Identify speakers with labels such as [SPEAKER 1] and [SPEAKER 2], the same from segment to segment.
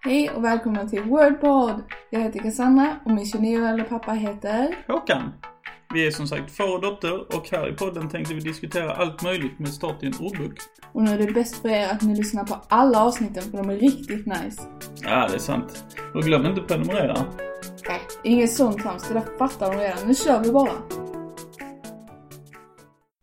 [SPEAKER 1] Hej och välkomna till Wordpod! Jag heter Cassandra och min 29 äldre pappa heter...
[SPEAKER 2] Håkan! Vi är som sagt far och dotter och här i podden tänkte vi diskutera allt möjligt med start i en ordbok.
[SPEAKER 1] Och nu är det bäst för er att ni lyssnar på alla avsnitten för de är riktigt nice.
[SPEAKER 2] Ja, det är sant. Och glöm inte att prenumerera.
[SPEAKER 1] Nej, inget sånt trams, det där fattar de redan. Nu kör vi bara!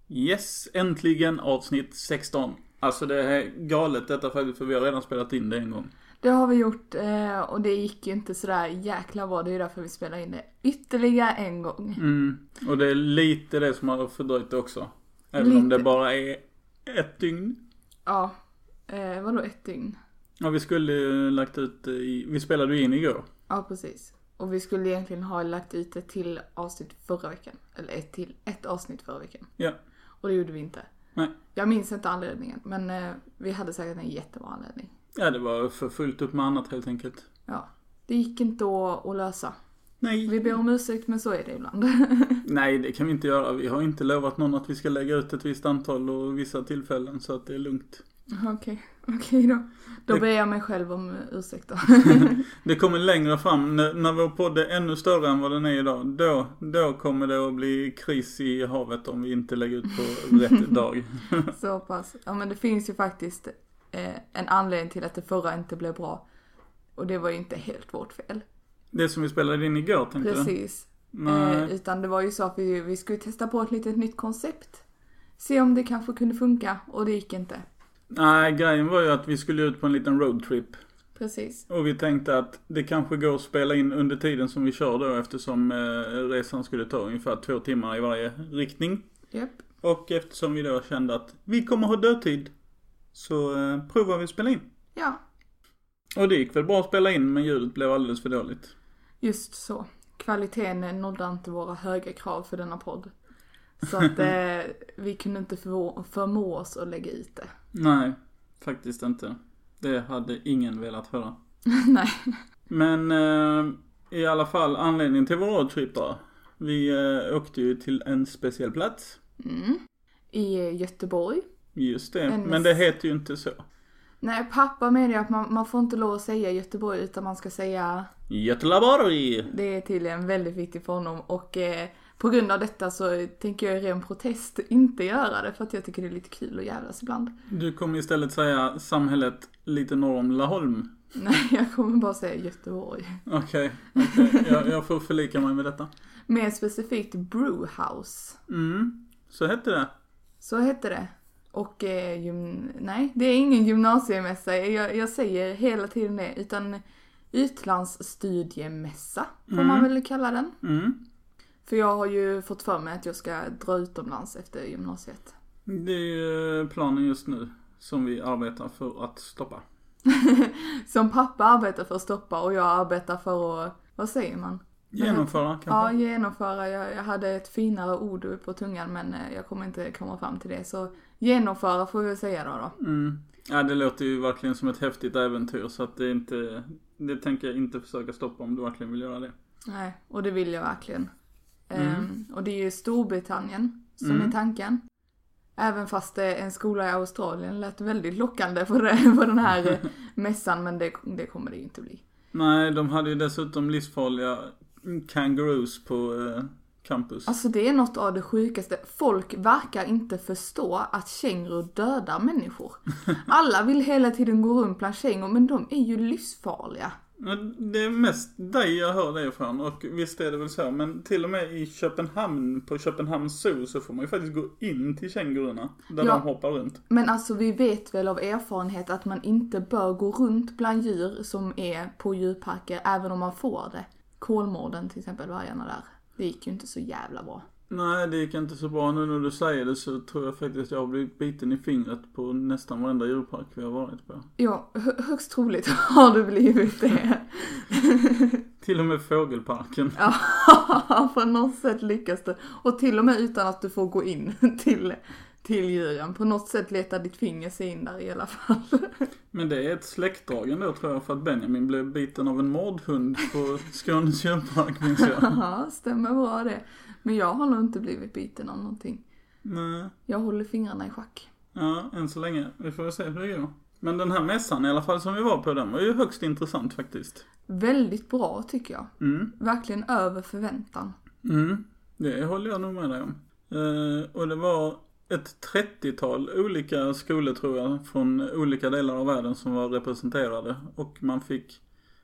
[SPEAKER 2] Yes, äntligen avsnitt 16. Alltså det är galet detta faktiskt för vi har redan spelat in det en gång.
[SPEAKER 1] Det har vi gjort eh, och det gick ju inte sådär jäkla bra. Det är ju därför vi spelar in det ytterligare en gång.
[SPEAKER 2] Mm. Och det är lite det som har fördröjt det också. Även om
[SPEAKER 1] Lite.
[SPEAKER 2] det bara är ett dygn.
[SPEAKER 1] Ja, eh, vadå ett dygn?
[SPEAKER 2] Ja, vi skulle ju lagt ut i, vi spelade ju in igår.
[SPEAKER 1] Ja, precis. Och vi skulle egentligen ha lagt ut ett till avsnitt förra veckan. Eller ett till, ett avsnitt förra veckan.
[SPEAKER 2] Ja.
[SPEAKER 1] Och det gjorde vi inte.
[SPEAKER 2] Nej.
[SPEAKER 1] Jag minns inte anledningen, men eh, vi hade säkert en jättebra anledning.
[SPEAKER 2] Ja, det var för fullt upp med annat helt enkelt.
[SPEAKER 1] Ja. Det gick inte att, att lösa.
[SPEAKER 2] Nej.
[SPEAKER 1] Vi ber om ursäkt, men så är det ibland.
[SPEAKER 2] Nej, det kan vi inte göra. Vi har inte lovat någon att vi ska lägga ut ett visst antal och vissa tillfällen så att det är lugnt.
[SPEAKER 1] Okej, okej då. Då
[SPEAKER 2] Det-
[SPEAKER 1] ber jag mig själv om ursäkt då.
[SPEAKER 2] Det kommer längre fram, när, när vår podd är ännu större än vad den är idag, då, då kommer det att bli kris i havet om vi inte lägger ut på rätt dag.
[SPEAKER 1] Så pass. Ja men det finns ju faktiskt eh, en anledning till att det förra inte blev bra. Och det var ju inte helt vårt fel.
[SPEAKER 2] Det som vi spelade in igår tänkte du?
[SPEAKER 1] Precis. Eh,
[SPEAKER 2] Nej.
[SPEAKER 1] utan det var ju så att vi, vi skulle testa på ett litet nytt koncept. Se om det kanske kunde funka och det gick inte.
[SPEAKER 2] Nej, grejen var ju att vi skulle ut på en liten roadtrip.
[SPEAKER 1] Precis.
[SPEAKER 2] Och vi tänkte att det kanske går att spela in under tiden som vi kör då eftersom eh, resan skulle ta ungefär två timmar i varje riktning.
[SPEAKER 1] Japp.
[SPEAKER 2] Och eftersom vi då kände att vi kommer ha dödtid så eh, provar vi att spela in.
[SPEAKER 1] Ja,
[SPEAKER 2] Och det gick väl bra att spela in men ljudet blev alldeles för dåligt.
[SPEAKER 1] Just så. Kvaliteten nådde inte våra höga krav för denna podd. Så att eh, vi kunde inte förmå, förmå oss att lägga ut det.
[SPEAKER 2] Nej, faktiskt inte. Det hade ingen velat höra.
[SPEAKER 1] Nej.
[SPEAKER 2] Men eh, i alla fall anledningen till vår roadtrip då. Vi eh, åkte ju till en speciell plats.
[SPEAKER 1] Mm. I Göteborg.
[SPEAKER 2] Just det,
[SPEAKER 1] En
[SPEAKER 2] men det heter ju inte så.
[SPEAKER 1] Nej, pappa menar ju att man, man får inte lov att säga Göteborg utan man ska säga
[SPEAKER 2] Göteborg!
[SPEAKER 1] det är tydligen väldigt viktigt för honom och eh, på grund av detta så tänker jag i ren protest inte göra det för att jag tycker det är lite kul att jävlas ibland.
[SPEAKER 2] Du kommer istället säga samhället lite norr om Laholm.
[SPEAKER 1] Nej, jag kommer bara säga Göteborg.
[SPEAKER 2] Okej, okej. jag, jag får förlika mig med detta.
[SPEAKER 1] Mer specifikt Brewhouse.
[SPEAKER 2] Mm, så hette det.
[SPEAKER 1] Så hette det. Och eh, gym... nej, det är ingen gymnasiemässa. Jag, jag säger hela tiden det. Utan utlandsstudiemässa får man väl kalla den.
[SPEAKER 2] Mm.
[SPEAKER 1] För jag har ju fått för mig att jag ska dra utomlands efter gymnasiet.
[SPEAKER 2] Det är ju eh, planen just nu som vi arbetar för att stoppa.
[SPEAKER 1] Som pappa arbetar för att stoppa och jag arbetar för att, vad säger man?
[SPEAKER 2] Genomföra
[SPEAKER 1] Ja,
[SPEAKER 2] kanske?
[SPEAKER 1] genomföra. Jag, jag hade ett finare ord på tungan men eh, jag kommer inte komma fram till det. Så genomföra får vi säga då. då.
[SPEAKER 2] Mm. Ja, det låter ju verkligen som ett häftigt äventyr så att det är inte, det tänker jag inte försöka stoppa om du verkligen vill göra det.
[SPEAKER 1] Nej, och det vill jag verkligen. Ehm, och det är ju Storbritannien som är tanken. Även fast eh, en skola i Australien lät väldigt lockande på, det, på den här eh, mässan men det, det kommer det ju inte bli.
[SPEAKER 2] Nej, de hade ju dessutom livsfarliga kangaroos på eh, campus.
[SPEAKER 1] Alltså det är något av det sjukaste. Folk verkar inte förstå att kängurur dödar människor. Alla vill hela tiden gå runt bland kängurur men de är ju livsfarliga.
[SPEAKER 2] Men Det är mest dig jag hör det ifrån och visst är det väl så men till och med i Köpenhamn, på Köpenhamns zoo så får man ju faktiskt gå in till kängurorna där
[SPEAKER 1] Ja.
[SPEAKER 2] de hoppar runt.
[SPEAKER 1] Men alltså vi vet väl av erfarenhet att man inte bör gå runt bland djur som är på djurparker även om man får det. Kolmården till exempel, vargarna där. Det gick ju inte så jävla bra.
[SPEAKER 2] Nej, det gick inte så bra. Nu när du säger det så tror jag faktiskt jag har blivit biten i fingret på nästan varenda djurpark vi har varit på.
[SPEAKER 1] Ja, hö- högst troligt har du blivit det.
[SPEAKER 2] Till och med fågelparken.
[SPEAKER 1] Ja, på något sätt lyckas du. Och till och med utan att du får gå in till, till djuren. På något sätt letar ditt finger sig in där i alla fall.
[SPEAKER 2] Men det är ett släktdrag ändå tror jag för att Benjamin blev biten av en mårdhund på Skånes djurpark minns jag.
[SPEAKER 1] Ja, stämmer bra det. Men jag har nog inte blivit biten av någonting.
[SPEAKER 2] Nej,
[SPEAKER 1] Jag håller fingrarna i schack.
[SPEAKER 2] ja, än så länge. Vi får väl se hur det går. Men den här mässan i alla fall som vi var på, den var ju högst intressant faktiskt.
[SPEAKER 1] Väldigt bra tycker jag.
[SPEAKER 2] Mm,
[SPEAKER 1] Verkligen över förväntan.
[SPEAKER 2] mm. Det håller jag nog med dig om. Eh, och det var ett 30-tal olika skolor tror jag från olika delar av världen som var representerade. Och man fick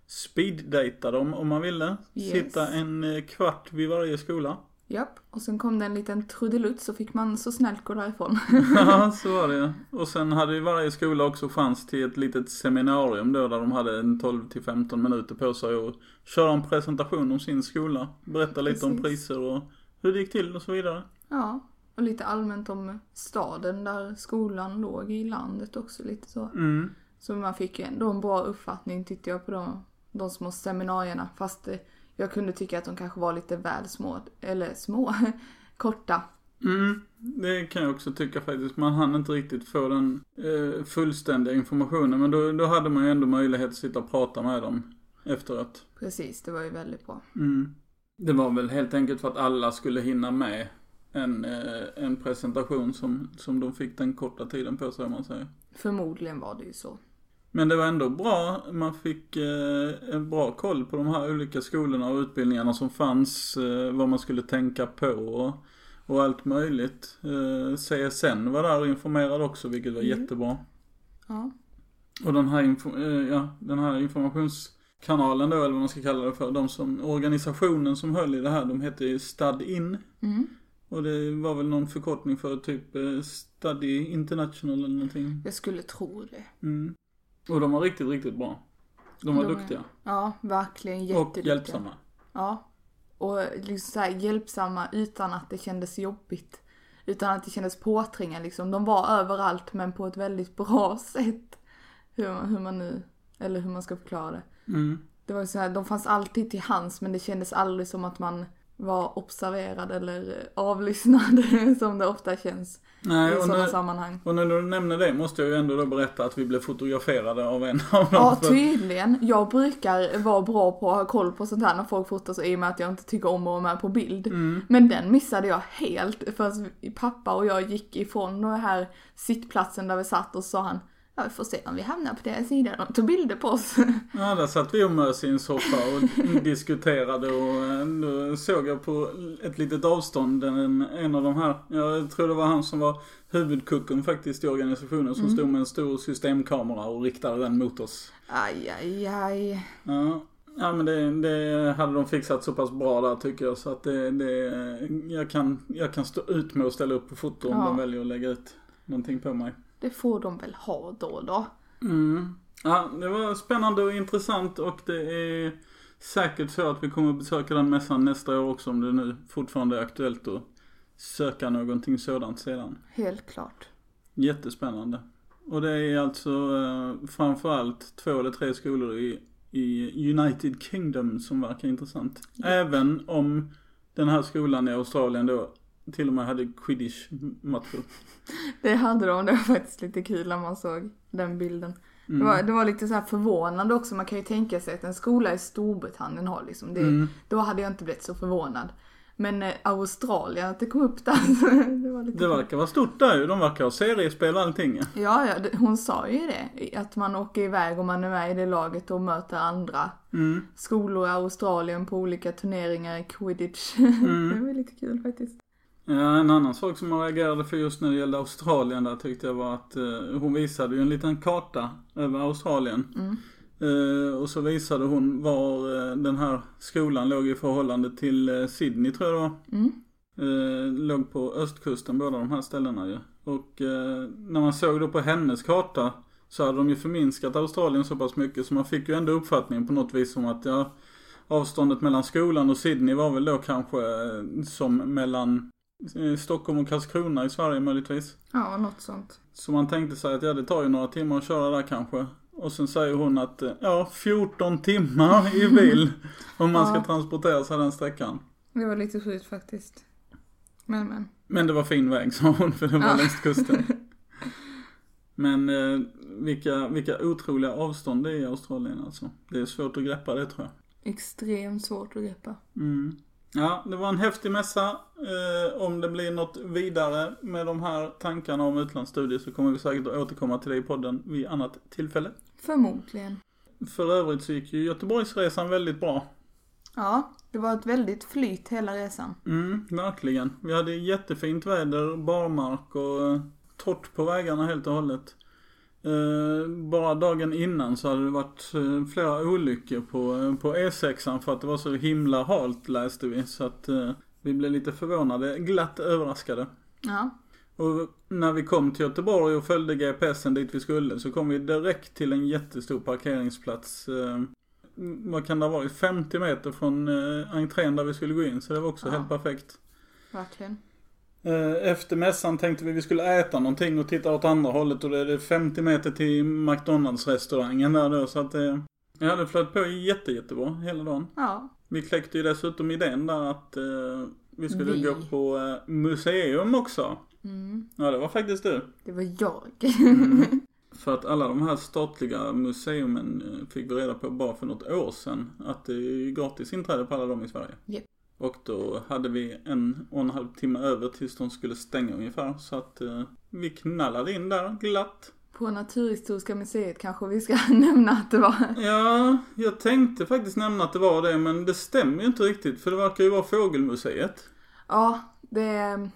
[SPEAKER 2] speeddata dem om man ville.
[SPEAKER 1] Yes.
[SPEAKER 2] Sitta en eh, kvart vid varje skola.
[SPEAKER 1] Japp, och sen kom det en liten trudelutt så fick man så snällt gå därifrån.
[SPEAKER 2] Ja, så var det. Och sen hade ju varje skola också chans till ett litet seminarium då där de hade en 12 till 15 minuter på sig och köra en presentation om sin skola. Berätta lite om
[SPEAKER 1] Precis.
[SPEAKER 2] priser och hur det gick till och så vidare.
[SPEAKER 1] Ja, och lite allmänt om staden där skolan låg i landet också lite så.
[SPEAKER 2] Mm.
[SPEAKER 1] Så man fick ju ändå en bra uppfattning tyckte jag på de, de små seminarierna. Fast eh, jag kunde tycka att de kanske var lite väl små, eller små, korta.
[SPEAKER 2] Mm. Det kan jag också tycka faktiskt. Man hann inte riktigt få den eh, fullständiga informationen men då, då hade man ju ändå möjlighet att sitta och prata med dem efteråt.
[SPEAKER 1] Precis, det var ju väldigt bra.
[SPEAKER 2] Mm. Det var väl helt enkelt för att alla skulle hinna med en, eh, en presentation som, som de fick den korta tiden på sig om man säger.
[SPEAKER 1] Förmodligen var det ju så.
[SPEAKER 2] Men det var ändå bra, man fick eh, en bra koll på de här olika skolorna och utbildningarna som fanns, eh, vad man skulle tänka på och, och allt möjligt. Eh, CSN var där och informerade också vilket var
[SPEAKER 1] Mm.
[SPEAKER 2] jättebra.
[SPEAKER 1] Ja,
[SPEAKER 2] Och den här, info, eh, ja, den här informationskanalen då, eller vad man ska kalla det för, de som, organisationen som höll i det här, de hette ju Stud In.
[SPEAKER 1] mm.
[SPEAKER 2] Och det var väl någon förkortning för typ eh, Study International eller någonting.
[SPEAKER 1] jag skulle tro det.
[SPEAKER 2] Mm. Och de var riktigt, riktigt bra. De var
[SPEAKER 1] De är
[SPEAKER 2] duktiga.
[SPEAKER 1] Ja, verkligen
[SPEAKER 2] Och
[SPEAKER 1] jätteduktiga.
[SPEAKER 2] hjälpsamma.
[SPEAKER 1] Ja. Och liksom så här, hjälpsamma utan att det kändes jobbigt. Utan att det kändes påträngande liksom. De var överallt men på ett väldigt bra sätt. Hur, hur man nu, eller hur man ska förklara det.
[SPEAKER 2] Mm.
[SPEAKER 1] Det var ju så här, de fanns alltid till hands men det kändes aldrig som att man var observerad eller avlyssnad som det ofta känns
[SPEAKER 2] Nej,
[SPEAKER 1] i
[SPEAKER 2] och
[SPEAKER 1] sådana
[SPEAKER 2] nu,
[SPEAKER 1] sammanhang.
[SPEAKER 2] och nu när du nämner det måste jag ju ändå då berätta att vi blev fotograferade av en av dem.
[SPEAKER 1] Ja, typ.
[SPEAKER 2] för-
[SPEAKER 1] tydligen. Jag brukar vara bra på att ha koll på sånt här när folk fotar så i och med att jag inte tycker om att vara med på bild.
[SPEAKER 2] Mm.
[SPEAKER 1] Men den missade jag helt förrän pappa och jag gick ifrån den här sittplatsen där vi satt och så sa han Ja, vi får se om vi hamnar på deras sida. De tog bilder på oss.
[SPEAKER 2] Ja, där satt vi och mös i en soffa och diskuterade och eh, då såg jag på ett litet avstånd en, en av de här, jag tror det var han som var huvudkucken faktiskt i organisationen
[SPEAKER 1] Mm.
[SPEAKER 2] som stod med en stor systemkamera och riktade den mot oss.
[SPEAKER 1] Aj, aj, aj.
[SPEAKER 2] Ja, ja men det, det hade de fixat så pass bra där tycker jag så att det, det jag, kan, jag kan stå ut med att ställa upp på foto om
[SPEAKER 1] Ja.
[SPEAKER 2] de väljer att lägga ut någonting på mig.
[SPEAKER 1] Det får de väl ha då och då.
[SPEAKER 2] Mm. Ja, det var spännande och intressant och det är säkert så att vi kommer besöka den mässan nästa år också om det nu fortfarande är aktuellt att söka någonting sådant sedan.
[SPEAKER 1] Helt klart.
[SPEAKER 2] Jättespännande. Och det är alltså eh, framförallt två eller tre skolor i, i United Kingdom som verkar intressant. Även om den här skolan i Australien då till och med hade quidditch-matcher.
[SPEAKER 1] Det hade de. Det var faktiskt lite kul när man såg den bilden.
[SPEAKER 2] Mm.
[SPEAKER 1] Det, var, det var lite så här förvånande också. Man kan ju tänka sig att en skola i Storbritannien har liksom det.
[SPEAKER 2] Mm.
[SPEAKER 1] Då hade jag inte blivit så förvånad. Men eh, Australien, att det kom upp där. det var lite
[SPEAKER 2] Det verkar vara stort där ju. De verkar ha seriespel och allting.
[SPEAKER 1] Ja, ja, det- hon sa ju det. Att man åker iväg och man är med i det laget och möter andra
[SPEAKER 2] Mm.
[SPEAKER 1] skolor i Australien på olika turneringar i quidditch.
[SPEAKER 2] Mm.
[SPEAKER 1] det var lite kul faktiskt.
[SPEAKER 2] Ja, en annan sak som man reagerade för just när det gällde Australien där tyckte jag var att eh, hon visade ju en liten karta över Australien. Eh, och så visade hon var eh, den här skolan låg i förhållande till eh, Sydney tror jag det var.
[SPEAKER 1] Mm.
[SPEAKER 2] Eh, låg på östkusten båda de här ställena ju. Och eh, när man såg då på hennes karta så hade de ju förminskat Australien så pass mycket så man fick ju ändå uppfattningen på något vis om att ja, avståndet mellan skolan och Sydney var väl då kanske eh, som mellan eh, Stockholm och Karlskrona i Sverige möjligtvis.
[SPEAKER 1] Ja, något sånt.
[SPEAKER 2] Så man tänkte sig att ja, det tar ju några timmar att köra där kanske. Och sen säger hon att eh, ja, 14 timmar i bil om man ska
[SPEAKER 1] Ja.
[SPEAKER 2] transportera sig den sträckan.
[SPEAKER 1] Det var lite sjukt faktiskt. Men men.
[SPEAKER 2] Men det var fin väg sa hon för den var
[SPEAKER 1] Ja.
[SPEAKER 2] längs kusten. Men eh, vilka, vilka otroliga avstånd det är i Australien alltså. Det är svårt att greppa det tror jag.
[SPEAKER 1] Extremt svårt att greppa.
[SPEAKER 2] Mm. Ja, det var en häftig mässa. Eh, om det blir något vidare med de här tankarna om utlandsstudier så kommer vi säkert att återkomma till det i podden vid annat tillfälle.
[SPEAKER 1] Förmodligen.
[SPEAKER 2] För övrigt så gick ju Göteborgsresan väldigt bra.
[SPEAKER 1] Ja, det var ett väldigt flyt hela resan.
[SPEAKER 2] Mm, verkligen. Vi hade jättefint väder, barmark och eh, torrt på vägarna helt och hållet. Eh, bara dagen innan så hade det varit eh, flera olyckor på, eh, på E6an för att det var så himla halt läste vi. Så att eh, vi blev lite förvånade, glatt överraskade.
[SPEAKER 1] Ja,
[SPEAKER 2] Och när vi kom till Göteborg och följde GPSen dit vi skulle så kom vi direkt till en jättestor parkeringsplats. Eh, vad kan det ha varit? 50 meter från eh, entrén där vi skulle gå in. Så det var också
[SPEAKER 1] Ja.
[SPEAKER 2] helt perfekt.
[SPEAKER 1] verkligen.
[SPEAKER 2] Eh, Efter mässan tänkte vi vi skulle äta någonting och titta åt andra hållet och det är det 50 meter till McDonalds restaurangen där då så att det... Ja det flöt på jätte, jättebra hela dagen.
[SPEAKER 1] Ja,
[SPEAKER 2] Vi kläckte ju dessutom idén där att eh, vi skulle
[SPEAKER 1] Vi.
[SPEAKER 2] gå på eh, museum också.
[SPEAKER 1] mm.
[SPEAKER 2] Ja det var faktiskt du.
[SPEAKER 1] det var jag.
[SPEAKER 2] Mm. För att alla de här statliga museumen eh, fick vi reda på bara för något år sedan att det är ju gratis inträde på alla dem i Sverige.
[SPEAKER 1] Japp.
[SPEAKER 2] Och då hade vi en och en halv timme över tills de skulle stänga ungefär så att eh, vi knallade in där glatt.
[SPEAKER 1] På Naturhistoriska museet kanske vi ska nämna att det var.
[SPEAKER 2] Ja, jag tänkte faktiskt nämna att det var det men det stämmer ju inte riktigt för det verkar ju vara Fågelmuseet.
[SPEAKER 1] Ja, det,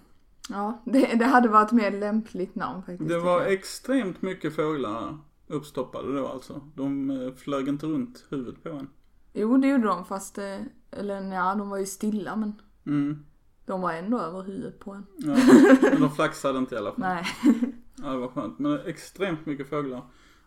[SPEAKER 1] ja, det, det hade varit ett mer lämpligt namn faktiskt.
[SPEAKER 2] Det
[SPEAKER 1] tycker
[SPEAKER 2] var
[SPEAKER 1] jag.
[SPEAKER 2] extremt mycket fåglar där, uppstoppade då alltså. De eh, flög inte runt huvudet på en.
[SPEAKER 1] Jo, det gjorde de fast, eh, eller ja, de var ju stilla men
[SPEAKER 2] Mm.
[SPEAKER 1] de var ändå över huvudet på en.
[SPEAKER 2] Ja, men de flaxade inte i alla fall.
[SPEAKER 1] Nej.
[SPEAKER 2] Ja, det var skönt. Men det är extremt mycket fåglar.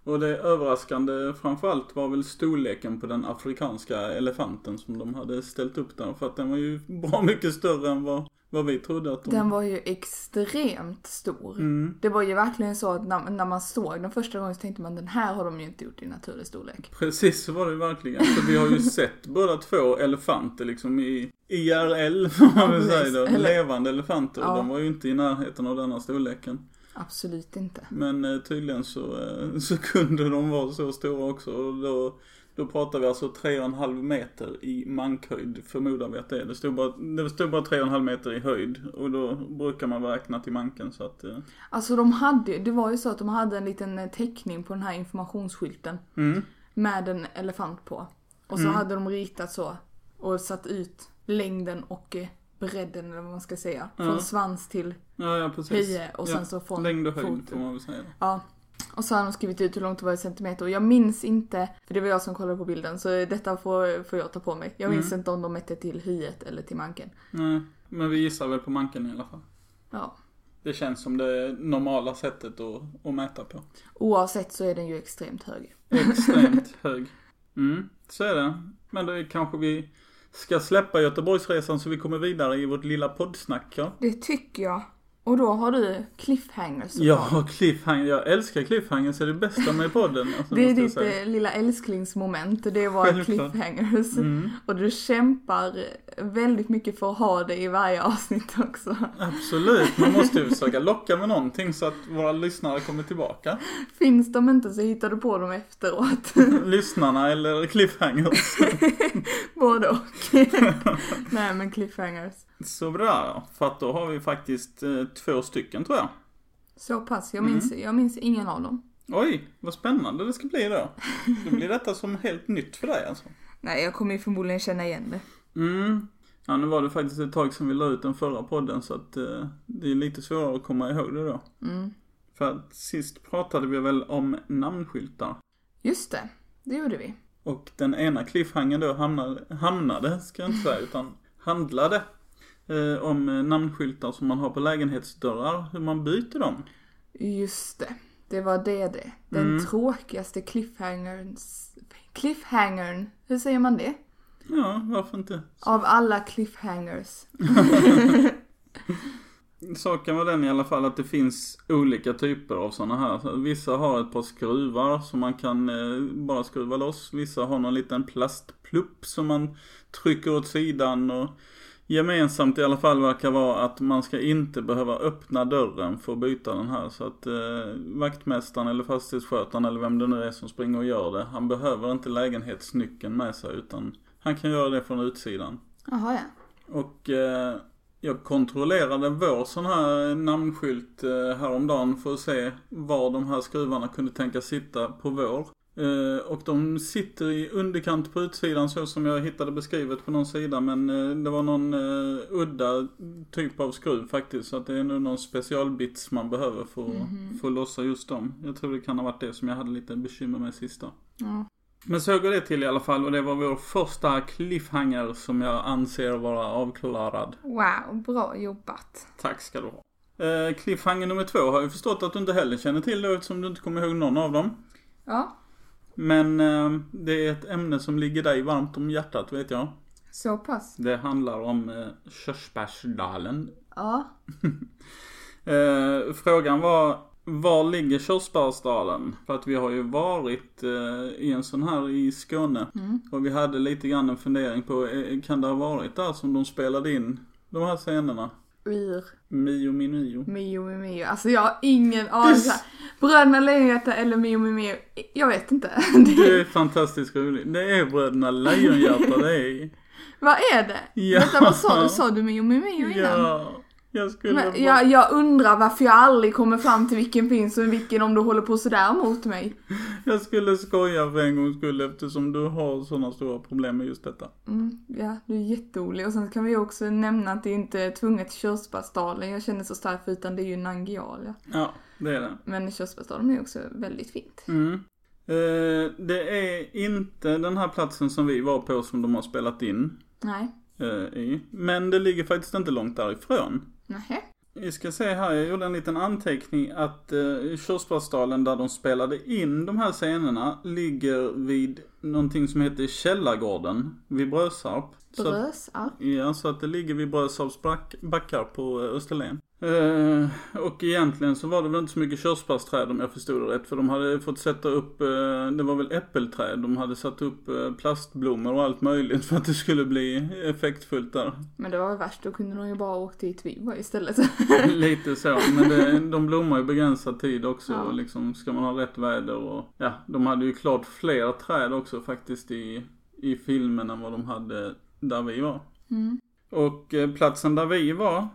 [SPEAKER 2] Och det överraskande framförallt var väl storleken på den afrikanska elefanten som de hade ställt upp där. För att den var ju bra mycket större än vad, vad vi trodde att de...
[SPEAKER 1] Den var ju extremt stor.
[SPEAKER 2] Mm,
[SPEAKER 1] Det var ju verkligen så att när, när man såg den första gången så tänkte man den här har de ju inte gjort i naturlig storlek.
[SPEAKER 2] precis så var det ju verkligen. För vi har ju sett båda två elefanter liksom i IRL, får man väl
[SPEAKER 1] Ja,
[SPEAKER 2] säga
[SPEAKER 1] precis.
[SPEAKER 2] då.
[SPEAKER 1] Eller-
[SPEAKER 2] Levande elefanter.
[SPEAKER 1] Ja.
[SPEAKER 2] Och de var ju inte i närheten av denna storleken.
[SPEAKER 1] Absolut inte.
[SPEAKER 2] Men eh, tydligen så, eh, så kunde de vara så stora också. Och då, då pratar vi alltså 3,5 meter i mankhöjd förmodar vi att det är. Det stod bara, det stod bara 3,5 meter i höjd. Och då brukar man räkna till manken så att... eh,
[SPEAKER 1] Alltså de hade ju- det var ju så att de hade en liten eh, teckning på den här informationsskylten
[SPEAKER 2] Mm.
[SPEAKER 1] med en elefant på. Och så hade de ritat så och satt ut längden och eh, bredden eller vad man ska säga. Från
[SPEAKER 2] Ja.
[SPEAKER 1] svans till
[SPEAKER 2] Ja, ja precis.
[SPEAKER 1] höje eh, och sen
[SPEAKER 2] ja.
[SPEAKER 1] så från
[SPEAKER 2] Längd och höjd
[SPEAKER 1] fot.
[SPEAKER 2] får man väl säga.
[SPEAKER 1] Ja. Och så har de skrivit ut hur långt det var i centimeter och jag minns inte, för det var jag som kollade på bilden så detta får, får jag ta på mig. Jag
[SPEAKER 2] Mm.
[SPEAKER 1] minns inte om de mätte till hyet eller till manken.
[SPEAKER 2] Nej, men vi gissar väl på manken i alla fall.
[SPEAKER 1] Ja.
[SPEAKER 2] Det känns som det normala sättet att, att mäta på.
[SPEAKER 1] Oavsett så är den ju extremt hög.
[SPEAKER 2] Extremt hög. Mm, så är det. Men då kanske vi ska släppa Göteborgsresan så vi kommer vidare i vårt lilla poddsnack. Ja,
[SPEAKER 1] Det tycker jag. Och då har du cliffhangers.
[SPEAKER 2] ja cliffhanger. Jag älskar cliffhangers. Det är det bästa med podden. Alltså,
[SPEAKER 1] Det är
[SPEAKER 2] måste jag
[SPEAKER 1] ditt
[SPEAKER 2] säga.
[SPEAKER 1] eh, lilla älsklingsmoment, det är våra
[SPEAKER 2] Självklart.
[SPEAKER 1] cliffhangers.
[SPEAKER 2] Mm,
[SPEAKER 1] Och du kämpar väldigt mycket för att ha det i varje avsnitt också.
[SPEAKER 2] absolut. Man måste ju försöka locka med någonting så att våra lyssnare kommer tillbaka.
[SPEAKER 1] Finns de inte så hittar du på dem efteråt.
[SPEAKER 2] Lyssnarna eller cliffhangers.
[SPEAKER 1] Både och. Nej men cliffhangers.
[SPEAKER 2] Så bra då. För att då har vi faktiskt eh, två stycken tror jag.
[SPEAKER 1] Så pass,
[SPEAKER 2] Mm.
[SPEAKER 1] jag minns, jag minns ingen av dem.
[SPEAKER 2] Oj, vad spännande det ska bli då. Då blir detta som helt nytt för dig alltså.
[SPEAKER 1] Nej jag kommer ju förmodligen känna igen det.
[SPEAKER 2] Mm. Ja, nu var det faktiskt ett tag sedan vi la ut den förra podden så att eh, det är lite svårare att komma ihåg det då.
[SPEAKER 1] Mm.
[SPEAKER 2] För att sist pratade vi väl om namnskyltar.
[SPEAKER 1] Just det, det gjorde vi.
[SPEAKER 2] Och den ena cliffhangern då hamnade, hamnade ska jag inte säga, utan handlade eh, om eh, namnskyltar som man har på lägenhetsdörrar, hur man byter dem.
[SPEAKER 1] Just det. Det var det det. Den
[SPEAKER 2] Mm.
[SPEAKER 1] tråkigaste cliffhangern... Cliffhangern, hur säger man det?
[SPEAKER 2] Ja, varför inte?
[SPEAKER 1] Av alla cliffhangers.
[SPEAKER 2] Saken var den i alla fall att det finns olika typer av sådana här. Så Vissa har ett par skruvar som man kan eh, bara skruva loss. Vissa har någon liten plastplupp som man trycker åt sidan. Och gemensamt i alla fall verkar vara att man ska inte behöva öppna dörren för att byta den här. Så att eh, vaktmästaren eller fastighetsskötaren eller vem det nu är som springer och gör det. Han behöver inte lägenhetsnyckeln med sig utan han kan göra det från utsidan.
[SPEAKER 1] Jaha ja.
[SPEAKER 2] Och eh, jag kontrollerade vår sån här namnskylt eh, häromdagen för att se var de här skruvarna kunde tänkas sitta på vår. Eh, och de sitter i underkant på utsidan så som jag hittade beskrivet på någon sida men eh, det var någon eh, udda typ av skruv faktiskt så att det är nog någon specialbits man behöver för, att för att lossa just dem. Jag tror det kan ha varit det som jag hade lite bekymmer med sista.
[SPEAKER 1] Ja.
[SPEAKER 2] Men så går det till i alla fall och det var vår första cliffhanger som jag anser vara avklarad.
[SPEAKER 1] Wow, bra jobbat.
[SPEAKER 2] Tack ska du ha. Eh, cliffhanger nummer två har jag förstått att du inte heller känner till då eftersom du inte kommer ihåg någon av dem.
[SPEAKER 1] Ja,
[SPEAKER 2] Men eh, det är ett ämne som ligger dig varmt om hjärtat vet jag.
[SPEAKER 1] så pass.
[SPEAKER 2] Det handlar om eh, Körsbärsdalen.
[SPEAKER 1] Ja,
[SPEAKER 2] Eh, frågan var var ligger Körsbärsdalen? För att vi har ju varit eh, i en sån här i Skåne. Och vi hade lite grann en fundering på, eh, kan det ha varit där som de spelade in de här scenerna?
[SPEAKER 1] ur
[SPEAKER 2] Mio Minio.
[SPEAKER 1] Mio Mio Mio. Alltså jag har ingen aning.
[SPEAKER 2] s-
[SPEAKER 1] Bröderna Lejonhjärta eller Mio Mio Mio. Jag vet inte.
[SPEAKER 2] Det är fantastiskt roligt. Det är Bröderna Lejonhjärta det är.
[SPEAKER 1] Vad är det?
[SPEAKER 2] Ja.
[SPEAKER 1] Vänta, vad sa du? Sa du Mio Mio Mio innan?
[SPEAKER 2] Ja, jag skulle bara...
[SPEAKER 1] Men jag, jag undrar varför jag aldrig kommer fram till vilken finns och vilken om du håller på sådär mot mig.
[SPEAKER 2] Jag skulle skoja för en gångs skull eftersom du har sådana stora problem med just detta.
[SPEAKER 1] Mm, ja, du är jätteolig. Och sen kan vi också nämna att det inte är tvunget Körsbärsdalen jag känner så starkt för, utan det är ju Nangijala.
[SPEAKER 2] Ja, det är det.
[SPEAKER 1] Men Körsbärsdalen är också väldigt fint.
[SPEAKER 2] Mm. Eh, det är inte den här platsen som vi var på som de har spelat in
[SPEAKER 1] Nej.
[SPEAKER 2] eh, i. Men det ligger faktiskt inte långt därifrån.
[SPEAKER 1] Nähä.
[SPEAKER 2] Vi ska se här, jag gjorde en liten anteckning att eh, Körsbärsdalen där de spelade in de här scenerna ligger vid någonting som heter Källargården vid Brösarp. Så att-
[SPEAKER 1] Brösarp.
[SPEAKER 2] Ja, så att det ligger vid Brösarps back, backar på eh, Österlen. Eh, och egentligen så var det väl inte så mycket körsbärsträd om jag förstod det rätt. För de hade fått sätta upp, eh, det var väl äppelträd. De hade satt upp eh, plastblommor och allt möjligt för att det skulle bli effektfullt där.
[SPEAKER 1] Men det var ju värst, då kunde de ju bara åkt dit vi var istället.
[SPEAKER 2] Lite så, men det, de blommar ju begränsad tid också.
[SPEAKER 1] Ja.
[SPEAKER 2] Och liksom, ska man ha rätt väder och ja, de hade ju klart fler träd också faktiskt i, i filmen än vad de hade där vi var.
[SPEAKER 1] Mm.
[SPEAKER 2] Och eh, platsen där vi var,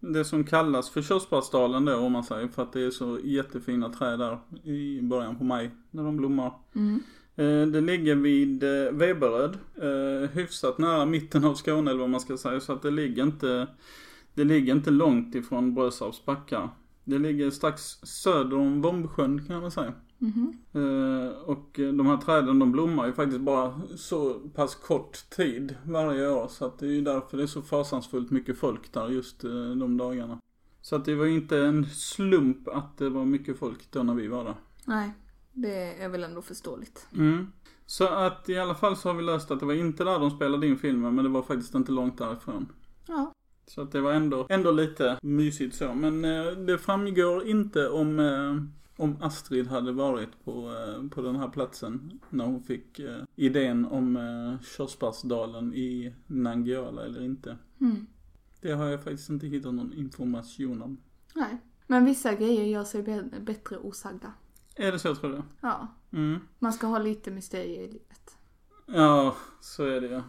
[SPEAKER 2] det som kallas för Körsbärsdalen då om man säger, för att det är så jättefina träd där i början på maj när de blommar.
[SPEAKER 1] Mm.
[SPEAKER 2] Eh, Det ligger vid eh, Veberöd, eh, hyfsat nära mitten av Skåne eller vad man ska säga, så att det ligger inte, det ligger inte långt ifrån Brösarps backar. Det ligger strax söder om Vombsjön kan man säga.
[SPEAKER 1] Mhm.
[SPEAKER 2] Eh, Och eh, de här träden de blommar ju faktiskt bara så pass kort tid varje år så att det är ju därför det är så fasansfullt mycket folk där just eh, de dagarna. Så att det var ju inte en slump att det var mycket folk då när vi var där.
[SPEAKER 1] Nej, det är väl ändå förståeligt.
[SPEAKER 2] Mm. Så att i alla fall så har vi löst att det var inte där de spelade in filmen men det var faktiskt inte långt därifrån.
[SPEAKER 1] Ja.
[SPEAKER 2] Så att det var ändå, ändå lite mysigt så. Men eh, det framgår inte om, eh, om Astrid hade varit på, eh, på den här platsen när hon fick eh, idén om eh, körsbärsdalen i Nangijala eller inte.
[SPEAKER 1] Mm.
[SPEAKER 2] Det har jag faktiskt inte hittat någon information om.
[SPEAKER 1] Nej. Men vissa grejer gör sig be- bättre osagda.
[SPEAKER 2] Är det så tror du?
[SPEAKER 1] Ja.
[SPEAKER 2] Mm.
[SPEAKER 1] Man ska ha lite mysterier i livet.
[SPEAKER 2] Ja, så är det ju.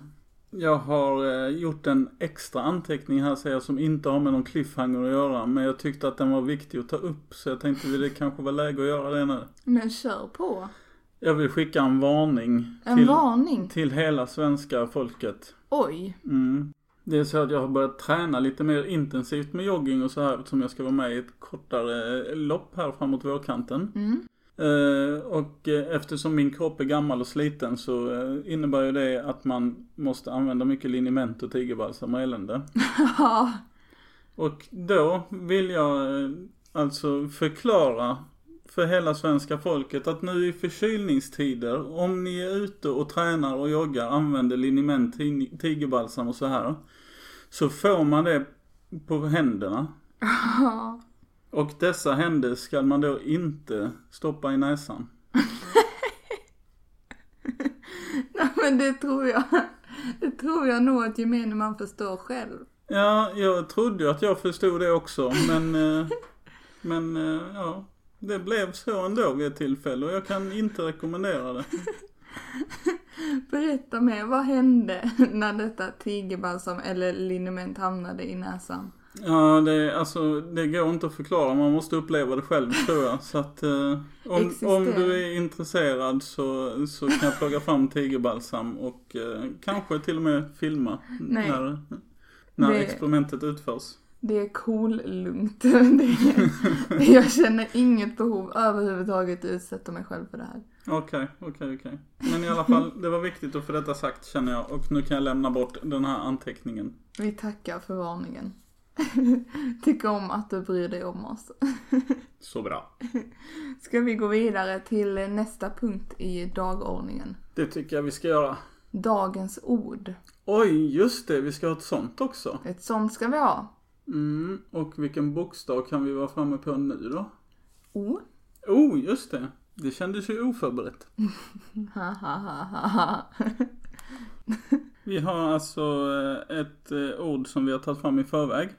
[SPEAKER 2] Jag har eh, gjort en extra anteckning här säger jag som inte har med någon cliffhanger att göra. Men jag tyckte att den var viktig att ta upp så jag tänkte att det kanske var läge att göra det nu.
[SPEAKER 1] Men kör på.
[SPEAKER 2] Jag vill skicka en varning
[SPEAKER 1] En
[SPEAKER 2] till,
[SPEAKER 1] varning.
[SPEAKER 2] till hela svenska folket.
[SPEAKER 1] Oj.
[SPEAKER 2] Mm. Det är så att jag har börjat träna lite mer intensivt med jogging och så här som jag ska vara med i ett kortare eh, lopp här framåt vårkanten.
[SPEAKER 1] Mm.
[SPEAKER 2] Eh, och eh, eftersom min kropp är gammal och sliten så eh, innebär ju det att man måste använda mycket liniment och tigerbalsam och elände.
[SPEAKER 1] Ja.
[SPEAKER 2] Och då vill jag eh, alltså förklara för hela svenska folket att nu i förkylningstider, om ni är ute och tränar och joggar, använder liniment, ti- tigerbalsam och så här. Så får man det på händerna.
[SPEAKER 1] Ja.
[SPEAKER 2] Och dessa händer ska man då inte stoppa i näsan.
[SPEAKER 1] Nej, men det tror jag. Det tror jag nog att gemene man förstår själv.
[SPEAKER 2] Ja, jag trodde ju att jag förstod det också, men, eh, men eh, ja. Det blev så ändå vid ett tillfälle och jag kan inte rekommendera det.
[SPEAKER 1] Berätta mer, vad hände när detta tigerbalsam eller liniment hamnade i näsan?
[SPEAKER 2] Ja, det, är- alltså, det går inte att förklara. Man måste uppleva det själv tror jag. Så att, eh, om,
[SPEAKER 1] Existerar.
[SPEAKER 2] om du är intresserad så, så kan jag plocka fram tigerbalsam och eh, kanske till och med filma
[SPEAKER 1] Nej.
[SPEAKER 2] när, när
[SPEAKER 1] Det-
[SPEAKER 2] experimentet utförs.
[SPEAKER 1] Det är cool lugnt. Det är, jag känner inget behov överhuvudtaget att utsätta mig själv för det här.
[SPEAKER 2] Okej, okej, okej. Men i alla fall, det var viktigt att få detta sagt känner jag. Och nu kan jag lämna bort den här anteckningen.
[SPEAKER 1] Vi tackar för varningen. Tycker om att du bryr dig om oss.
[SPEAKER 2] Så bra.
[SPEAKER 1] Ska vi gå vidare till nästa punkt i dagordningen?
[SPEAKER 2] Det tycker jag vi ska göra.
[SPEAKER 1] Dagens ord.
[SPEAKER 2] Oj, just det. Vi ska ha ett sånt också.
[SPEAKER 1] Ett sånt ska vi ha.
[SPEAKER 2] Mm, och vilken bokstav kan vi vara framme på nu då?
[SPEAKER 1] O.
[SPEAKER 2] Oh, just det. Det kändes ju oförberett.
[SPEAKER 1] Ha, ha, ha, ha, ha.
[SPEAKER 2] Vi har alltså eh, ett eh, ord som vi har tagit fram i förväg.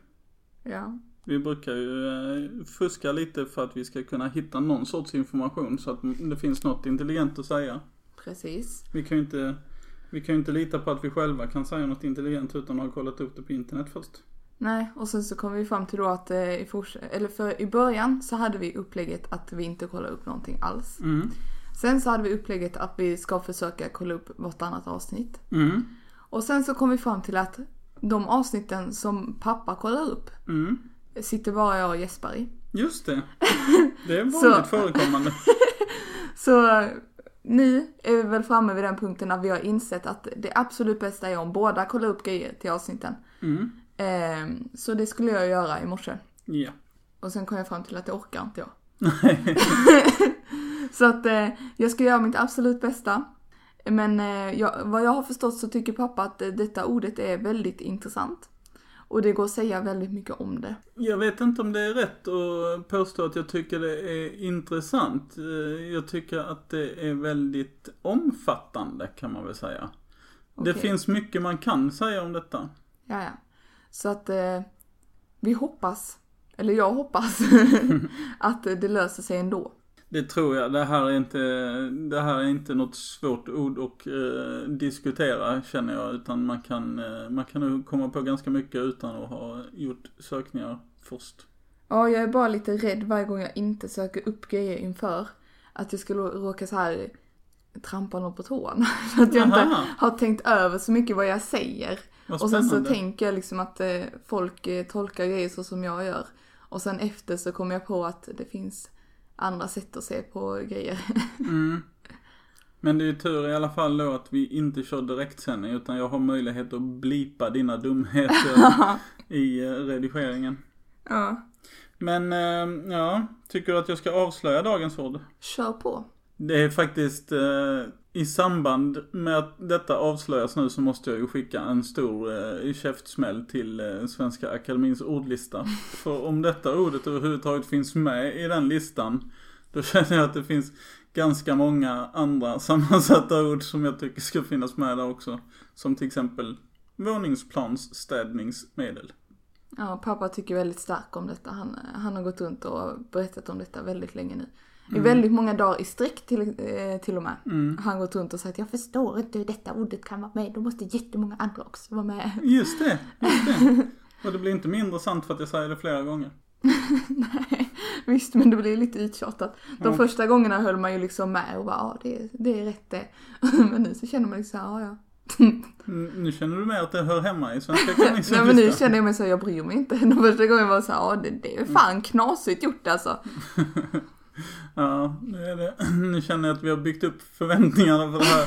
[SPEAKER 1] Ja.
[SPEAKER 2] Vi brukar ju eh, fuska lite för att vi ska kunna hitta någon sorts information så att det finns något intelligent att säga.
[SPEAKER 1] Precis.
[SPEAKER 2] Vi kan ju inte, vi kan ju inte lita på att vi själva kan säga något intelligent utan att ha kollat upp det på internet först.
[SPEAKER 1] Nej, och sen så kom vi fram till då att eh, i, fors- eller för, i början så hade vi upplägget att vi inte kollar upp någonting alls.
[SPEAKER 2] Mm.
[SPEAKER 1] Sen så hade vi upplägget att vi ska försöka kolla upp vartannat avsnitt.
[SPEAKER 2] Mm.
[SPEAKER 1] Och sen så kom vi fram till att de avsnitten som pappa kollar upp
[SPEAKER 2] Mm.
[SPEAKER 1] sitter bara jag och Jesper i.
[SPEAKER 2] Just det. Det är
[SPEAKER 1] Så-
[SPEAKER 2] vanligt förekommande.
[SPEAKER 1] Så eh, nu är vi väl framme vid den punkten när vi har insett att det absolut bästa är om båda kollar upp grejer till avsnitten.
[SPEAKER 2] Mm.
[SPEAKER 1] Ehm, så det skulle jag göra i morse.
[SPEAKER 2] Ja.
[SPEAKER 1] Och sen kom jag fram till att det orkar inte jag. så att eh, jag ska göra mitt absolut bästa. Men eh, jag, vad jag har förstått så tycker pappa att eh, detta ordet är väldigt intressant. Och det går att säga väldigt mycket om det.
[SPEAKER 2] Jag vet inte om det är rätt att påstå att jag tycker det är intressant. Eh, Jag tycker att det är väldigt omfattande kan man väl säga. Det
[SPEAKER 1] Okej.
[SPEAKER 2] finns mycket man kan säga om detta.
[SPEAKER 1] Ja, ja. Så att eh, vi hoppas, eller jag hoppas, att det löser sig ändå.
[SPEAKER 2] Det tror jag. Det här är inte, det här är inte något svårt ord att eh, diskutera känner jag. Utan man kan, eh, man kan nog komma på ganska mycket utan att ha gjort sökningar först.
[SPEAKER 1] Ja, jag är bara lite rädd varje gång jag inte söker upp grejer inför. Att jag skulle råka så här trampa någon på tårna. Så att jag inte
[SPEAKER 2] Aha,
[SPEAKER 1] har tänkt över så mycket vad jag säger.
[SPEAKER 2] vad
[SPEAKER 1] Och sen så
[SPEAKER 2] spännande.
[SPEAKER 1] tänker jag liksom att eh, folk eh, tolkar grejer så som jag gör. Och sen efter så kommer jag på att det finns andra sätt att se på grejer.
[SPEAKER 2] Mm. Men det är ju tur i alla fall då att vi inte kör direktsändning utan jag har möjlighet att blipa dina dumheter i eh, redigeringen.
[SPEAKER 1] Ja.
[SPEAKER 2] Men eh, ja, tycker du att jag ska avslöja dagens ord?
[SPEAKER 1] Kör på.
[SPEAKER 2] Det är faktiskt eh, i samband med att detta avslöjas nu så måste jag ju skicka en stor eh, käftsmäll till eh, Svenska Akademins ordlista. För om detta ordet överhuvudtaget finns med i den listan då känner jag att det finns ganska många andra sammansatta ord som jag tycker ska finnas med där också. Som till exempel våningsplansstädningsmedel.
[SPEAKER 1] Ja, pappa tycker väldigt starkt om detta. Han, han har gått runt och berättat om detta väldigt länge nu. I väldigt många dagar i sträck till, eh, till och med.
[SPEAKER 2] Mm.
[SPEAKER 1] Han har gått runt och sagt jag förstår inte hur detta ordet kan vara med. Då måste jättemånga andra också vara med.
[SPEAKER 2] Just det, just det. Och det blir inte mindre sant för att jag säger det flera gånger.
[SPEAKER 1] Nej, visst men det blir lite uttjatat. De
[SPEAKER 2] Ja.
[SPEAKER 1] första gångerna höll man ju liksom med och bara ja det, är- det är rätt det. men nu så känner man liksom ja ja.
[SPEAKER 2] Mm, Nu känner du med att det hör hemma i Svenska
[SPEAKER 1] Nej men nu
[SPEAKER 2] Akademiens
[SPEAKER 1] känner jag mig så här, jag bryr mig inte. De första gångerna var jag så här, ja det, det
[SPEAKER 2] Mm.
[SPEAKER 1] är fan knasigt gjort alltså.
[SPEAKER 2] Ja, nu, är det. nu känner jag att vi har byggt upp förväntningarna för det här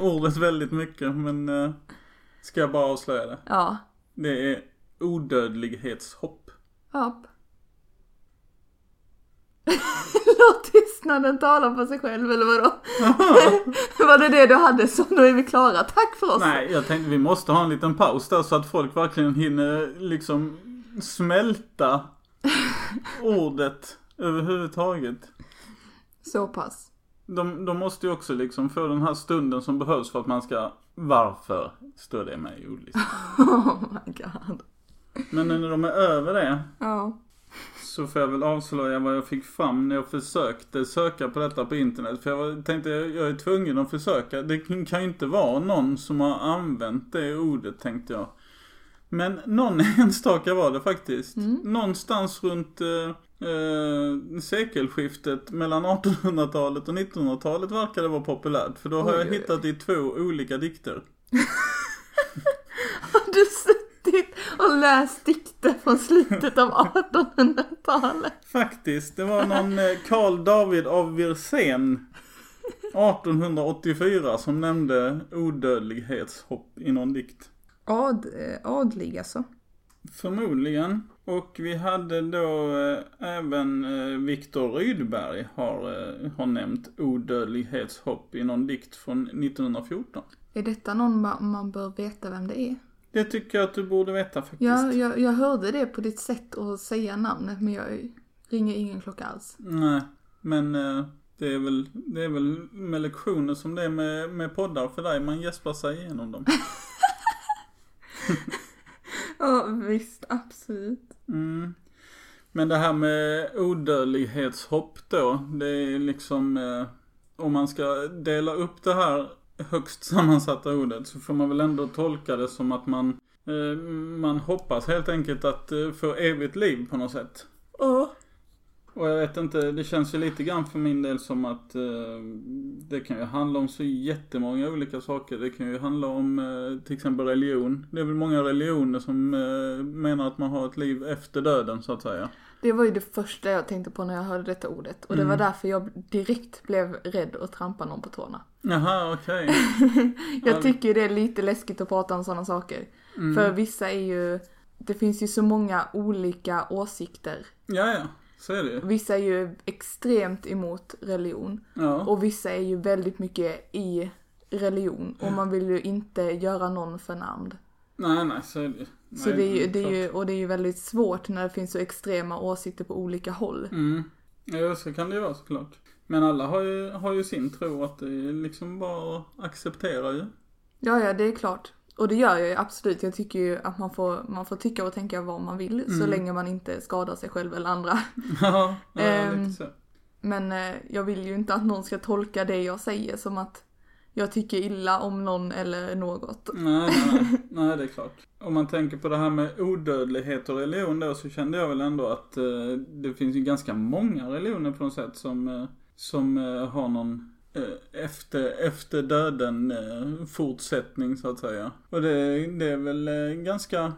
[SPEAKER 2] ordet väldigt mycket. Men eh, ska jag bara avslöja det.
[SPEAKER 1] Ja,
[SPEAKER 2] Det är odödlighetshopp.
[SPEAKER 1] hopp. Låt tystnaden tala för sig själv eller vadå? Var det det du hade? Så då är vi klara. Tack för oss.
[SPEAKER 2] Nej, jag tänkte vi måste ha en liten paus där så att folk verkligen hinner liksom smälta ordet överhuvudtaget.
[SPEAKER 1] Så pass.
[SPEAKER 2] De, de måste ju också liksom få den här stunden som behövs för att man ska Varför står det med i ordlistan?
[SPEAKER 1] Oh my god.
[SPEAKER 2] Men när de är över det
[SPEAKER 1] Ja.
[SPEAKER 2] så får jag väl avslöja vad jag fick fram när jag försökte söka på detta på internet. För jag var- tänkte, jag jag är tvungen att försöka. Det kan kan ju inte vara någon som har använt det ordet tänkte jag. Men någon enstaka var det faktiskt.
[SPEAKER 1] Mm.
[SPEAKER 2] Någonstans runt eh, eh, sekelskiftet mellan 1800-talet och 1900-talet verkar det vara populärt. För då har
[SPEAKER 1] Oj,
[SPEAKER 2] jag
[SPEAKER 1] oj, oj.
[SPEAKER 2] hittat i två olika dikter.
[SPEAKER 1] Har du suttit och läst dikter från slutet av 1800-talet?
[SPEAKER 2] Faktiskt, det var någon eh, Karl David av Wirsén 1884 som nämnde odödlighetshopp i någon dikt.
[SPEAKER 1] Ad, eh, adlig alltså.
[SPEAKER 2] Förmodligen. Och vi hade då eh, även eh, Viktor Rydberg har, eh, har nämnt odödlighetshopp i någon dikt från 1914.
[SPEAKER 1] Är detta någon ma- man bör veta vem det är?
[SPEAKER 2] Det tycker jag att du borde veta faktiskt.
[SPEAKER 1] Ja, jag, jag hörde det på ditt sätt att säga namnet men jag ringer ingen klocka alls.
[SPEAKER 2] Nej, men eh, det är väl, det är väl med lektioner som det är med, med poddar för dig. Man gäspar sig igenom dem.
[SPEAKER 1] Ja, visst. Absolut.
[SPEAKER 2] Mm. Men det här med odödlighetshopp då, det är liksom eh, om man ska dela upp det här högst sammansatta ordet så får man väl ändå tolka det som att man eh, man hoppas helt enkelt att eh, få evigt liv på något sätt.
[SPEAKER 1] Ja.
[SPEAKER 2] Och jag vet inte, det känns ju lite grann för min del som att eh, det kan ju handla om så jättemånga olika saker. Det kan ju handla om eh, till exempel religion. Det är väl många religioner som eh, menar att man har ett liv efter döden så att säga.
[SPEAKER 1] Det var ju det första jag tänkte på när jag hörde detta ordet och det var därför jag direkt blev rädd att trampa någon på tårna.
[SPEAKER 2] Jaha, okej.
[SPEAKER 1] Jag tycker ju det är lite läskigt att prata om sådana saker. För vissa är ju, det finns ju så många olika åsikter.
[SPEAKER 2] Ja, ja. Så är det ju.
[SPEAKER 1] Vissa är ju extremt emot religion
[SPEAKER 2] Ja.
[SPEAKER 1] och vissa är ju väldigt mycket i religion och man vill ju inte göra någon förnärmd.
[SPEAKER 2] Nej, nej, så är det ju. Nej,
[SPEAKER 1] Så det är ju, det är
[SPEAKER 2] klart.
[SPEAKER 1] ju, och det är ju väldigt svårt när det finns så extrema åsikter på olika håll.
[SPEAKER 2] Mm. Ja, så kan det ju vara såklart. Men alla har ju, har ju sin tro att det är liksom bara att acceptera ju.
[SPEAKER 1] Ja, ja, det är klart. Och det gör jag ju absolut. Jag tycker ju att man får, man får tycka och tänka vad man vill så länge man inte skadar sig själv eller andra.
[SPEAKER 2] ja, ja,
[SPEAKER 1] Ehm.
[SPEAKER 2] lite så.
[SPEAKER 1] Men eh, jag vill ju inte att någon ska tolka det jag säger som att jag tycker illa om någon eller något.
[SPEAKER 2] Nej, nej, nej. nej, det är klart. Om man tänker på det här med odödlighet och religion då så kände jag väl ändå att eh, det finns ju ganska många religioner på något sätt som, eh, som eh, har någon eh, efter, efter döden eh, fortsättning så att säga. Och det, det är väl eh, ganska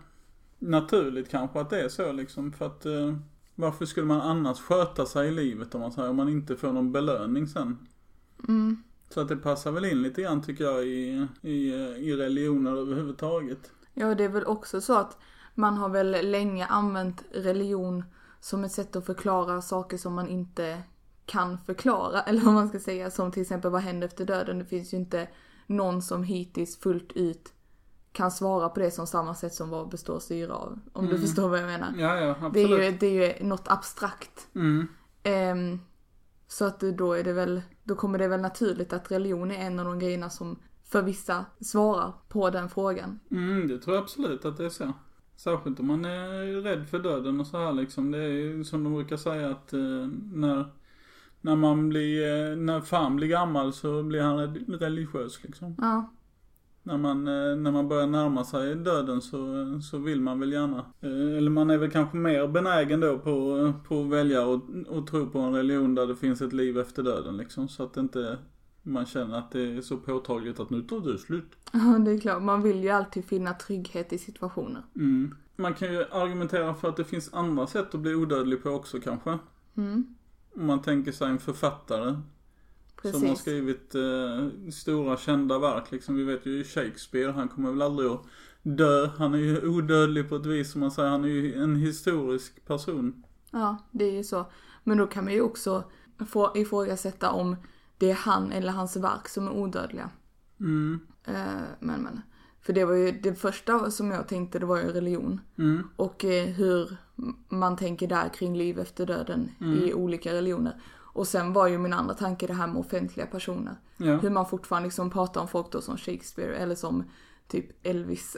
[SPEAKER 2] naturligt kanske att det är så liksom för att eh, varför skulle man annars sköta sig i livet om man säger om man inte får någon belöning sen?
[SPEAKER 1] Mm.
[SPEAKER 2] Så att det passar väl in lite grann tycker jag i, i, i religioner överhuvudtaget.
[SPEAKER 1] Ja, det är väl också så att man har väl länge använt religion som ett sätt att förklara saker som man inte kan förklara. Eller vad man ska säga, som till exempel vad händer efter döden? Det finns ju inte någon som hittills fullt ut kan svara på det som samma sätt som vad består syra av. Om du förstår vad jag menar.
[SPEAKER 2] Ja, ja,
[SPEAKER 1] Det är,
[SPEAKER 2] Mm, absolut.
[SPEAKER 1] ju, det är ju något abstrakt.
[SPEAKER 2] Mm.
[SPEAKER 1] Ehm, så att då är det väl, då kommer det väl naturligt att religion är en av de grejerna som för vissa svarar på den frågan.
[SPEAKER 2] Mm, det tror jag absolut att det är så. Särskilt om man är rädd för döden och så här liksom. Det är ju som de brukar säga att eh, när, när man blir, eh, när fan blir gammal så blir han red- religiös liksom.
[SPEAKER 1] Ja,
[SPEAKER 2] När man, eh, när man börjar närma sig döden så, eh, så vill man väl gärna. eh, Eller man är väl kanske mer benägen då på, eh, på att välja och, och tro på en religion där det finns ett liv efter döden liksom. Så att inte man känner att det är så påtagligt att nu tar du slut.
[SPEAKER 1] Ja, det är klart. Man vill ju alltid finna trygghet i situationer.
[SPEAKER 2] Mm. Man kan ju argumentera för att det finns andra sätt att bli odödlig på också kanske.
[SPEAKER 1] Mm,
[SPEAKER 2] Om man tänker sig en författare som har
[SPEAKER 1] precis.
[SPEAKER 2] skrivit eh, stora kända verk. Liksom, vi vet ju Shakespeare, han kommer väl aldrig att dö. Han är ju odödlig på ett vis som man säger. Han är ju en historisk person.
[SPEAKER 1] Ja, det är ju så. Men då kan man ju också få ifrågasätta om det är han eller hans verk som är odödliga.
[SPEAKER 2] Mm,
[SPEAKER 1] Eh, men, men. För det var ju det första som jag tänkte, det var ju religion.
[SPEAKER 2] mm,
[SPEAKER 1] och eh, hur m- man tänker där kring liv efter döden i olika religioner. Och sen var ju min andra tanke det här med offentliga personer.
[SPEAKER 2] ja.
[SPEAKER 1] Hur man fortfarande liksom pratar om folk då som Shakespeare eller som typ Elvis.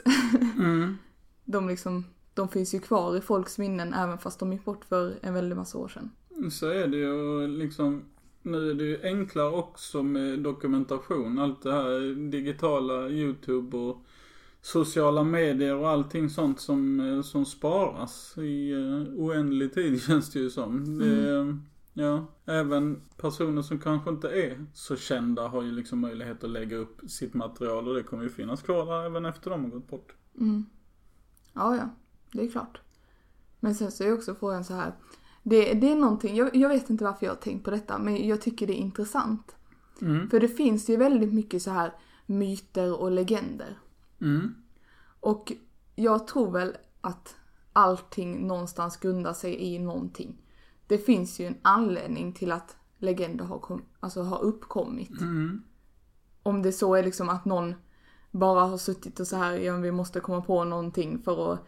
[SPEAKER 2] Mm,
[SPEAKER 1] De liksom de finns ju kvar i folks minnen även fast de gick bort för en väldig massa år sedan.
[SPEAKER 2] Så är det ju och liksom nu är det ju enklare också med dokumentation. Allt det här digitala, YouTube och sociala medier och allting sånt som, eh, som sparas i eh, oändlig tid känns det ju som. Det, eh, ja, även personer som kanske inte är så kända har ju liksom möjlighet att lägga upp sitt material och det kommer ju finnas kvar där även efter de har gått bort.
[SPEAKER 1] Ja, ja, det är klart. Men sen så är också frågan så här. Det, det är någonting, jag, jag vet inte varför jag har tänkt på detta, men jag tycker det är intressant.
[SPEAKER 2] Mm.
[SPEAKER 1] För det finns ju väldigt mycket så här myter och legender.
[SPEAKER 2] Mm.
[SPEAKER 1] Och jag tror väl att allting någonstans grundar sig i någonting. Det finns ju en anledning till att legender har, kom, alltså har uppkommit.
[SPEAKER 2] Mm.
[SPEAKER 1] Om det så är liksom att någon bara har suttit och så här, ja, vi måste komma på någonting för att,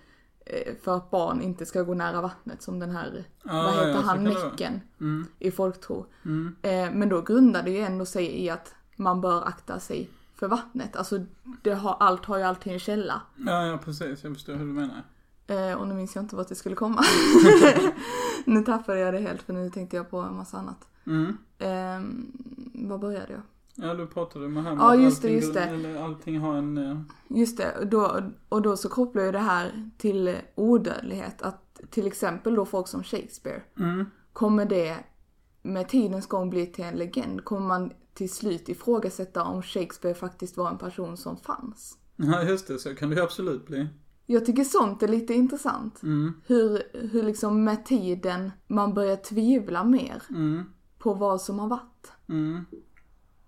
[SPEAKER 1] eh, för att barn inte ska gå nära vattnet som den här,
[SPEAKER 2] Ah,
[SPEAKER 1] vad heter
[SPEAKER 2] ja, så
[SPEAKER 1] han,
[SPEAKER 2] kan det vara.
[SPEAKER 1] näcken
[SPEAKER 2] Mm.
[SPEAKER 1] i folktro.
[SPEAKER 2] Mm.
[SPEAKER 1] Eh, men då grundar det ju ändå sig i att man bör akta sig för vattnet. Alltså det har, allt har ju alltid en källa.
[SPEAKER 2] Ja, ja precis. Jag förstår hur du menar.
[SPEAKER 1] Eh, och nu minns jag inte vart det skulle komma. nu tappade jag det helt för nu tänkte jag på en massa annat.
[SPEAKER 2] Mm.
[SPEAKER 1] Eh, vad började jag?
[SPEAKER 2] Ja, du pratade med här
[SPEAKER 1] Ja,
[SPEAKER 2] att
[SPEAKER 1] just det,
[SPEAKER 2] allting-
[SPEAKER 1] just det.
[SPEAKER 2] Eller allting har en... eh,
[SPEAKER 1] Just det, och då, och då så kopplar jag det här till odödlighet. Att till exempel då folk som Shakespeare,
[SPEAKER 2] Mm.
[SPEAKER 1] kommer det med tidens gång bli till en legend? Kommer man till slut ifrågasätta om Shakespeare faktiskt var en person som fanns?
[SPEAKER 2] Ja, just det. Så kan det ju absolut bli.
[SPEAKER 1] Jag tycker sånt är lite intressant.
[SPEAKER 2] Mm.
[SPEAKER 1] Hur, hur liksom med tiden man börjar tvivla mer
[SPEAKER 2] Mm.
[SPEAKER 1] på vad som har varit.
[SPEAKER 2] Mm.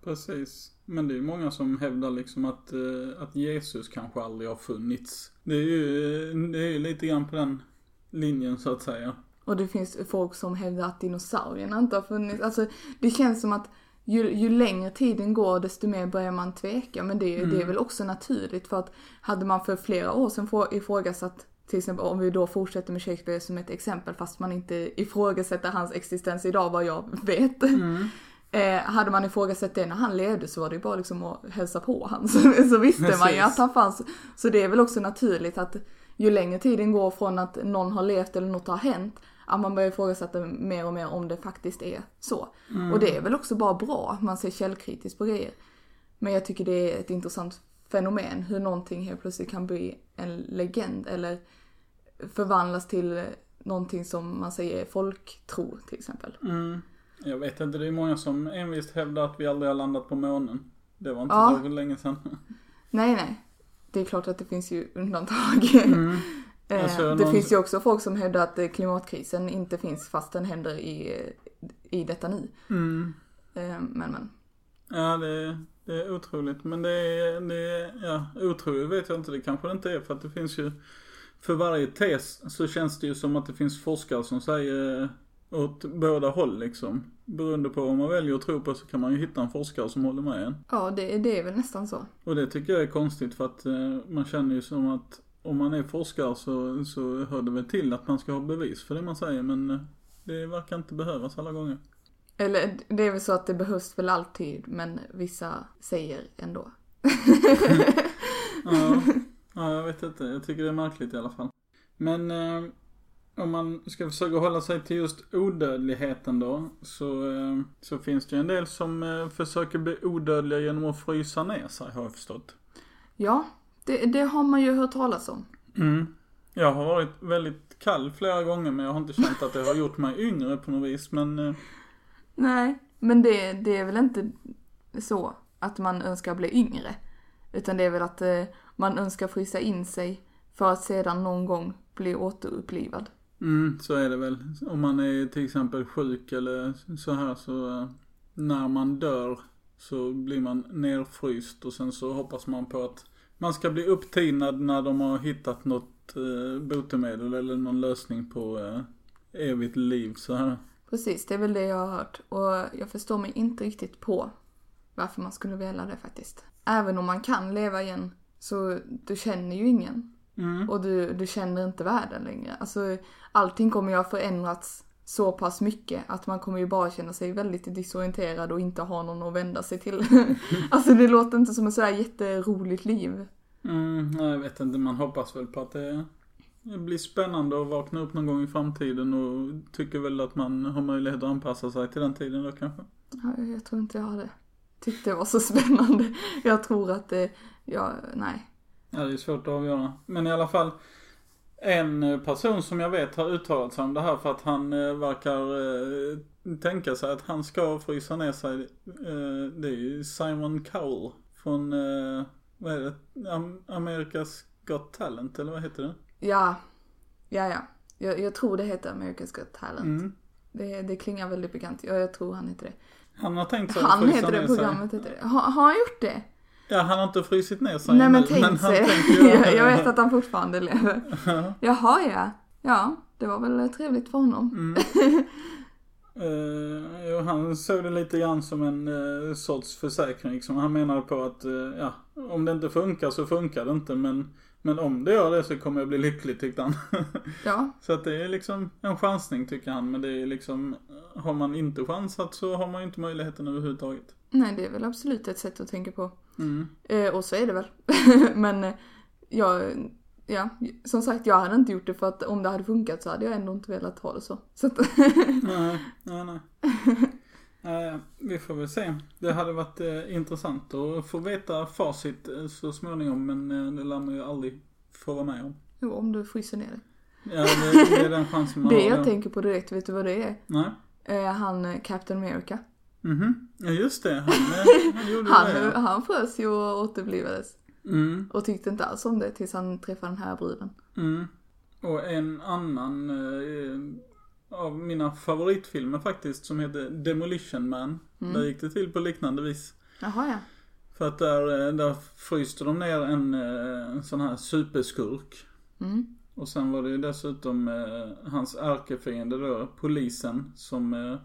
[SPEAKER 2] Precis. Men det är ju många som hävdar liksom att, eh, att Jesus kanske aldrig har funnits. Det är ju, eh, det är ju lite grann på den linjen så att säga.
[SPEAKER 1] Och det finns folk som hävdar att dinosaurierna inte har funnits. Alltså det känns som att ju, ju längre tiden går desto mer börjar man tveka. Men det, det är väl också naturligt för att hade man för flera år sedan få- ifrågasatt till exempel om vi då fortsätter med Shakespeare som ett exempel fast man inte ifrågasätter hans existens idag vad jag vet. Eh, hade man ifrågasatt det när han levde så var det ju bara liksom att hälsa på han. Så, så visste man ju
[SPEAKER 2] Precis.
[SPEAKER 1] att han fanns. Så det är väl också naturligt att ju längre tiden går från att någon har levt eller något har hänt, att man börjar ifrågasätta mer och mer om det faktiskt är så. Och det är väl också bara bra att man ser källkritiskt på grejer. Men jag tycker det är ett intressant fenomen hur någonting helt plötsligt kan bli en legend eller förvandlas till någonting som man säger är folktro till exempel.
[SPEAKER 2] Mm. Jag vet inte, det är många som envist hävdar att vi aldrig har landat på månen. Det var inte
[SPEAKER 1] Ja.
[SPEAKER 2] så länge sedan.
[SPEAKER 1] Nej, nej. Det är klart att det finns ju undantag. Eh,
[SPEAKER 2] Alltså,
[SPEAKER 1] det
[SPEAKER 2] någon-
[SPEAKER 1] finns ju också folk som hävdar att eh, klimatkrisen inte finns fast den händer i, eh, i detta nu.
[SPEAKER 2] Mm.
[SPEAKER 1] Eh, Men men.
[SPEAKER 2] Ja, det, det är otroligt. Men det är, det är, ja, otroligt vet jag inte. Det kanske det inte är. För att det finns ju, för varje tes så känns det ju som att det finns forskare som säger åt båda håll liksom. Beroende på vad man väljer att tro på så kan man ju hitta en forskare som håller med en.
[SPEAKER 1] Ja, det, det är väl nästan så.
[SPEAKER 2] Och det tycker jag är konstigt för att eh, man känner ju som att om man är forskare så, så hör det väl till att man ska ha bevis för det man säger men eh, det verkar inte behövas alla gånger.
[SPEAKER 1] Eller det är väl så att det behövs väl alltid, men vissa säger ändå.
[SPEAKER 2] Ja, ja, jag vet inte. Jag tycker det är märkligt i alla fall. Men eh, om man ska försöka hålla sig till just odödligheten då, så, eh, så finns det ju en del som eh, försöker bli odödliga genom att frysa ner sig, har jag förstått.
[SPEAKER 1] Ja, det, det har man ju hört talas om.
[SPEAKER 2] Mm. Jag har varit väldigt kall flera gånger, men jag har inte känt att det har gjort mig yngre på något vis, men eh,
[SPEAKER 1] Nej, men det, det är väl inte så att man önskar bli yngre. Utan det är väl att eh, man önskar frysa in sig för att sedan någon gång bli återupplivad.
[SPEAKER 2] Mm, så är det väl. Om man är till exempel sjuk eller så här så eh, när man dör så blir man nerfryst och sen så hoppas man på att man ska bli upptinad när de har hittat något eh, botemedel eller någon lösning på eh, evigt liv så här.
[SPEAKER 1] Precis, det är väl det jag har hört. Och jag förstår mig inte riktigt på varför man skulle vilja det faktiskt. Även om man kan leva igen så du känner ju ingen.
[SPEAKER 2] Mm.
[SPEAKER 1] Och du, du känner inte världen längre. Alltså, allting kommer ju ha förändrats så pass mycket att man kommer ju bara känna sig väldigt disorienterad och inte ha någon att vända sig till. alltså det låter inte som ett sådär jätteroligt liv.
[SPEAKER 2] Mm, nej, jag vet inte, man hoppas väl på att det Det blir spännande att vakna upp någon gång i framtiden och tycker väl att man har möjlighet att anpassa sig till den tiden då kanske.
[SPEAKER 1] Ja, jag tror inte jag hade tyckt det var så spännande. Jag tror att det, ja, nej.
[SPEAKER 2] Ja, det är svårt att avgöra. Men i alla fall. En person som jag vet har uttalat sig om det här för att han eh, verkar eh, tänka sig att han ska frysa ner sig. Eh, det är ju Simon Cowell från, eh, vad är det, Am- Amerikas Got Talent eller vad heter det?
[SPEAKER 1] Ja, ja, ja. Jag, jag tror det heter America's Got Talent.
[SPEAKER 2] Mm.
[SPEAKER 1] Det, det klingar väldigt bekant. Ja, jag tror han heter det.
[SPEAKER 2] Han har tänkt sig
[SPEAKER 1] Han
[SPEAKER 2] att
[SPEAKER 1] heter
[SPEAKER 2] frysa
[SPEAKER 1] det,
[SPEAKER 2] ner sig.
[SPEAKER 1] programmet heter det. Har, har han gjort det?
[SPEAKER 2] Ja, han har inte frysit ner sig
[SPEAKER 1] Nej men
[SPEAKER 2] ännu,
[SPEAKER 1] tänk
[SPEAKER 2] han
[SPEAKER 1] sig
[SPEAKER 2] tänker
[SPEAKER 1] det.
[SPEAKER 2] göra
[SPEAKER 1] Jag,
[SPEAKER 2] det.
[SPEAKER 1] jag vet att han fortfarande lever. Jaha ja. Ja, det var väl trevligt för
[SPEAKER 2] Mm.
[SPEAKER 1] honom.
[SPEAKER 2] Eh, jo, han såg det lite grann som en eh, sorts försäkring. Liksom. Han menade på att eh, ja, om det inte funkar så funkar det inte. Men, men om det gör det så kommer jag bli lycklig tyckte han.
[SPEAKER 1] Ja,
[SPEAKER 2] så att det är liksom en chansning tycker han. Men det är liksom, har man inte chansat så har man ju inte möjligheten överhuvudtaget.
[SPEAKER 1] nej det är väl absolut ett sätt att tänka på.
[SPEAKER 2] Mm.
[SPEAKER 1] Eh, och så är det väl. men eh, jag, ja, som sagt jag hade inte gjort det för att om det hade funkat så hade jag ändå inte velat ha det så. så att,
[SPEAKER 2] Nej, nej, nej. Eh, vi får väl se. Det hade varit eh, intressant att få veta facit eh, så småningom. Men eh, det lär man ju aldrig få vara med om.
[SPEAKER 1] jo, om du fryser ner det.
[SPEAKER 2] Ja, det, det är den chansen man
[SPEAKER 1] Det
[SPEAKER 2] har.
[SPEAKER 1] jag
[SPEAKER 2] då.
[SPEAKER 1] tänker på direkt, vet du vad det är?
[SPEAKER 2] Nej.
[SPEAKER 1] Eh, han eh, Captain America.
[SPEAKER 2] Mhm. Ja, just det. Han, eh, han gjorde
[SPEAKER 1] Han,
[SPEAKER 2] det. ja.
[SPEAKER 1] han frös ju och återupplivades.
[SPEAKER 2] Mm,
[SPEAKER 1] Och tyckte inte alls om det tills han träffade den här bruden.
[SPEAKER 2] mm. Och en annan eh, av mina favoritfilmer faktiskt som heter Demolition Man.
[SPEAKER 1] Mm.
[SPEAKER 2] Där gick det till på liknande vis.
[SPEAKER 1] Jaha ja.
[SPEAKER 2] För att där, eh, där fryste de ner en, eh, en sån här superskurk.
[SPEAKER 1] Mm.
[SPEAKER 2] Och sen var det ju dessutom eh, hans ärkefiende då, polisen, som eh,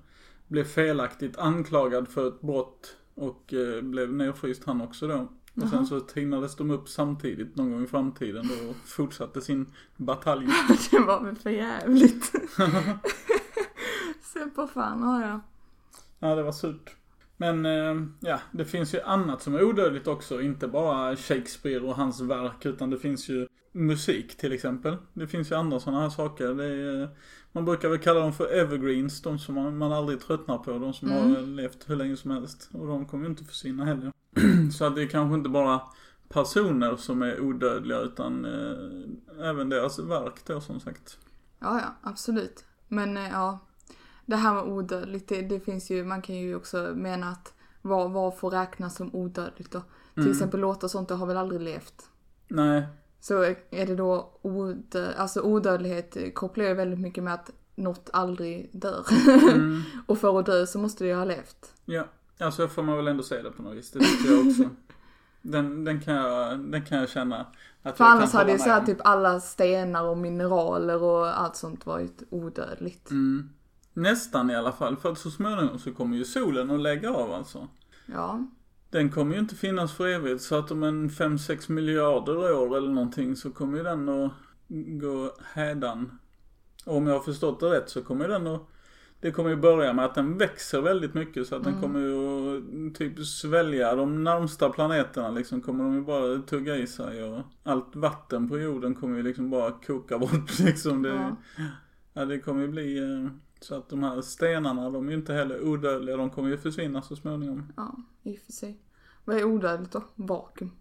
[SPEAKER 2] blev felaktigt anklagad för ett brott och eh, blev nedfryst han också då. Och sen så tinades de upp samtidigt någon gång i framtiden då och fortsatte sin batalj.
[SPEAKER 1] Det var väl för jävligt. Se på fan, ja ja.
[SPEAKER 2] Ja, det var surt. Men eh, ja, det finns ju annat som är odödligt också. Inte bara Shakespeare och hans verk, utan det finns ju musik till exempel. Det finns ju andra sådana här saker. Det är, eh, man brukar väl kalla dem för evergreens, de som man, man aldrig tröttnar på. De som
[SPEAKER 1] Mm.
[SPEAKER 2] har levt hur länge som helst. Och de kommer ju inte försvinna heller. Så att det är kanske inte bara personer som är odödliga, utan eh, även deras verk då som sagt.
[SPEAKER 1] Ja ja, absolut. Men eh, ja, det här med odödligt, det, det finns ju, man kan ju också mena att vad, vad får räknas som odödligt då? Till exempel låtar och sånt, det har väl aldrig levt.
[SPEAKER 2] Nej,
[SPEAKER 1] Så är det då odö- alltså odödlighet kopplar jag väldigt mycket med att något aldrig dör.
[SPEAKER 2] Mm.
[SPEAKER 1] och för att dö så måste det ju ha levt.
[SPEAKER 2] Ja, alltså får man väl ändå säga det på något vis. Det tycker jag också. Den, den, kan, jag, den kan jag känna att
[SPEAKER 1] För
[SPEAKER 2] jag
[SPEAKER 1] annars
[SPEAKER 2] kan
[SPEAKER 1] hade ju
[SPEAKER 2] hålla
[SPEAKER 1] så här
[SPEAKER 2] med om.
[SPEAKER 1] typ alla stenar och mineraler och allt sånt varit odödligt.
[SPEAKER 2] Mm. Nästan i alla fall, för att så småningom så kommer ju solen att lägga av alltså.
[SPEAKER 1] Ja,
[SPEAKER 2] Den kommer ju inte finnas för evigt, så att om en 5-6 miljarder år eller någonting så kommer ju den att gå hädan. Och om jag har förstått det rätt så kommer ju den att det kommer ju börja med att den växer väldigt mycket så att den kommer ju att typ svälja de närmsta planeterna liksom. Kommer de ju bara tugga i sig och allt vatten på jorden kommer ju liksom bara koka bort liksom. Det, ja.
[SPEAKER 1] Ja.
[SPEAKER 2] det kommer ju bli eh, så att de här stenarna de är ju inte heller odödliga. De kommer ju försvinna så småningom.
[SPEAKER 1] ja, i och för sig. Vad är odödligt då? Vakuum.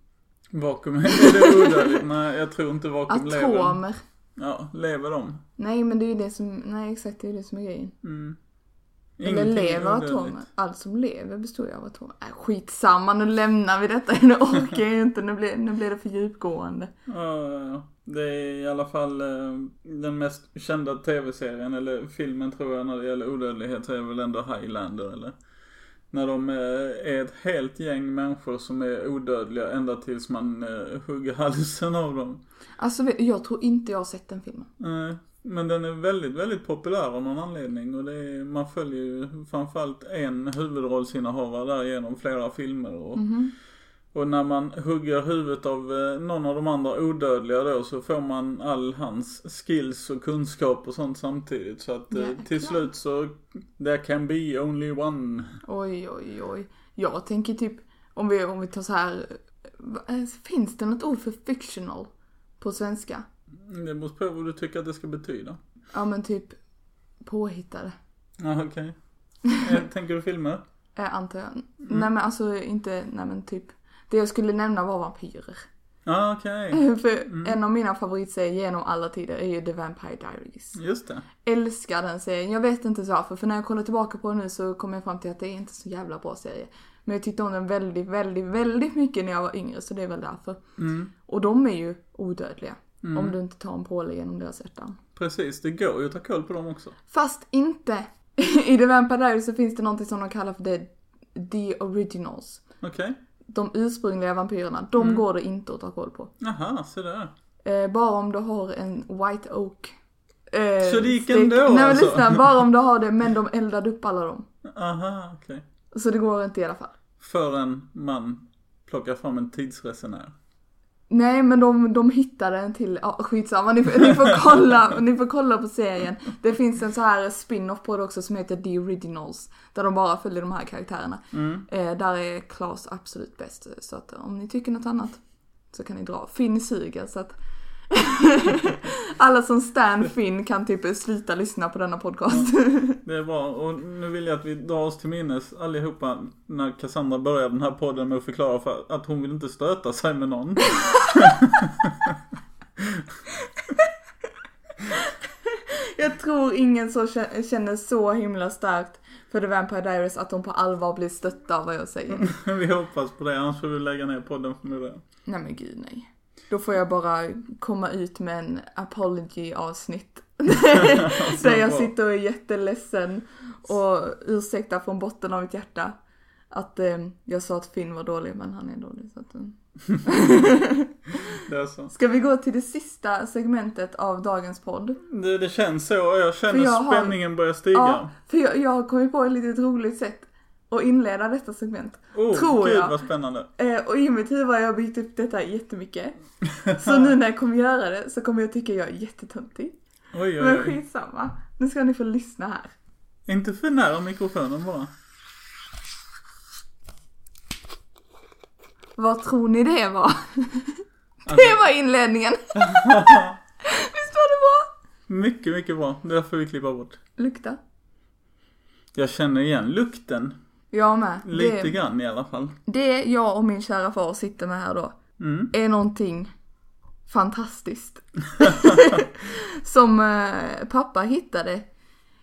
[SPEAKER 2] Vakuum, är det odödligt? Nej, jag tror inte vakuum lever.
[SPEAKER 1] Atomer.
[SPEAKER 2] Ja, lever de?
[SPEAKER 1] Nej men det är ju det som, nej exakt det är ju det som är grejen.
[SPEAKER 2] Mm.
[SPEAKER 1] Eller
[SPEAKER 2] Ingenting är
[SPEAKER 1] lever
[SPEAKER 2] odödligt.
[SPEAKER 1] atomer? Allt som lever består ju av atomer. Äh, skitsamma nu lämnar vi detta, nu orkar jag inte, nu blir, nu blir det för djupgående.
[SPEAKER 2] Ja, ja, ja. det är i alla fall eh, den mest kända tv-serien, eller filmen tror jag, när det gäller odödlighet är väl ändå Highlander, eller? När de eh, är ett helt gäng människor som är odödliga ända tills man eh, hugger halsen av dem.
[SPEAKER 1] Alltså vet- jag tror inte jag har sett den filmen.
[SPEAKER 2] Eh, Men den är väldigt, väldigt populär av någon anledning och det är, man följer ju framförallt en huvudrollsinnehavare där genom flera filmer och Och när man hugger huvudet av eh, någon av de andra odödliga då så får man all hans skills och kunskap och sånt samtidigt. Så att eh,
[SPEAKER 1] Jäklar.
[SPEAKER 2] till slut så, there can be only one.
[SPEAKER 1] Oj oj oj. Jag tänker typ, om vi, om vi tar så här. va- eh, Finns det något ord för fictional? På svenska?
[SPEAKER 2] Det beror på vad du tycker att det ska betyda.
[SPEAKER 1] Ja men typ påhittade.
[SPEAKER 2] Ja, okej. Eh, Tänker du filmer?
[SPEAKER 1] Eh, antar jag. Nej men alltså inte, nej men typ. Det jag skulle nämna var vampyrer.
[SPEAKER 2] Ja, okej.
[SPEAKER 1] För en av mina favoritserier genom alla tider är ju The Vampire Diaries.
[SPEAKER 2] Just det.
[SPEAKER 1] Älskar den serien. Jag vet inte så varför för när jag kollar tillbaka på den nu så kommer jag fram till att det är inte så jävla bra serie. Men jag tyckte om den väldigt, väldigt, väldigt mycket när jag var yngre så det är väl därför.
[SPEAKER 2] Mm.
[SPEAKER 1] Och de är ju odödliga. Om du inte tar en påle genom deras hjärtan.
[SPEAKER 2] Precis, det går ju att ta koll på dem också.
[SPEAKER 1] Fast inte! I The Vampire Diaries så finns det någonting som de kallar för The, the Originals.
[SPEAKER 2] Okej.
[SPEAKER 1] De ursprungliga vampyrerna, de
[SPEAKER 2] Mm.
[SPEAKER 1] går det inte att ta koll på.
[SPEAKER 2] Jaha, se där.
[SPEAKER 1] Eh, bara om du har en White Oak. Eh,
[SPEAKER 2] Så det gick
[SPEAKER 1] stick.
[SPEAKER 2] ändå,
[SPEAKER 1] Nej men
[SPEAKER 2] alltså?
[SPEAKER 1] lyssna, bara om du har det men de eldade upp alla dem.
[SPEAKER 2] Aha, okej.
[SPEAKER 1] Så det går inte i alla fall.
[SPEAKER 2] För en man plockar fram en tidsresenär.
[SPEAKER 1] Nej men de, de hittade en till, ja skitsamma ni, får- ni, får kolla, ni får kolla på serien. Det finns en så här spin-off på det också som heter The Originals. Där de bara följer de här karaktärerna. Eh, där är Klas absolut bäst. Så att om ni tycker något annat så kan ni dra. Finn suger så att alla som stan Finn kan typ sluta lyssna på denna podcast.
[SPEAKER 2] Det är bra och nu vill jag att vi drar oss till minnes allihopa när Cassandra börjar den här podden med att förklara för att hon vill inte stöta sig med någon.
[SPEAKER 1] Jag tror ingen så kä- känner så himla starkt för The Vampire Diaries att de på allvar blir stötta av vad jag säger.
[SPEAKER 2] vi hoppas på det annars får vi lägga ner podden förmodligen.
[SPEAKER 1] Nej men gud nej. Då får jag bara komma ut med en apology avsnitt. där jag
[SPEAKER 2] bra.
[SPEAKER 1] sitter och är jätteledsen och ursäktar från botten av mitt hjärta. Att eh, jag sa att Finn var dålig men han är dålig. Så att, eh.
[SPEAKER 2] Det är så.
[SPEAKER 1] Ska vi gå till det sista segmentet av dagens podd?
[SPEAKER 2] Det, det känns så och jag
[SPEAKER 1] För
[SPEAKER 2] känner
[SPEAKER 1] jag har-
[SPEAKER 2] spänningen börjar stiga.
[SPEAKER 1] Ja, för jag, jag har kommit på ett litet roligt sätt att inleda detta segment.
[SPEAKER 2] oh,
[SPEAKER 1] tror
[SPEAKER 2] gud
[SPEAKER 1] jag.
[SPEAKER 2] vad spännande.
[SPEAKER 1] Eh, och i mitt huvud har jag byggt upp detta jättemycket. Så nu när jag kommer göra det så kommer jag tycka jag är jättetöntig.
[SPEAKER 2] Oj,
[SPEAKER 1] Men
[SPEAKER 2] oj, oj.
[SPEAKER 1] skitsamma. Nu ska ni få lyssna här.
[SPEAKER 2] Inte för nära mikrofonen bara.
[SPEAKER 1] Vad tror ni det var? Det var inledningen! Visst var det bra?
[SPEAKER 2] Mycket, mycket bra. Det får vi klippa bort.
[SPEAKER 1] Lukta.
[SPEAKER 2] Jag känner igen lukten.
[SPEAKER 1] Jag med.
[SPEAKER 2] Lite
[SPEAKER 1] Det,
[SPEAKER 2] grann i alla fall.
[SPEAKER 1] det jag och min kära far sitter med här då
[SPEAKER 2] Mm.
[SPEAKER 1] är någonting fantastiskt. Som eh, pappa hittade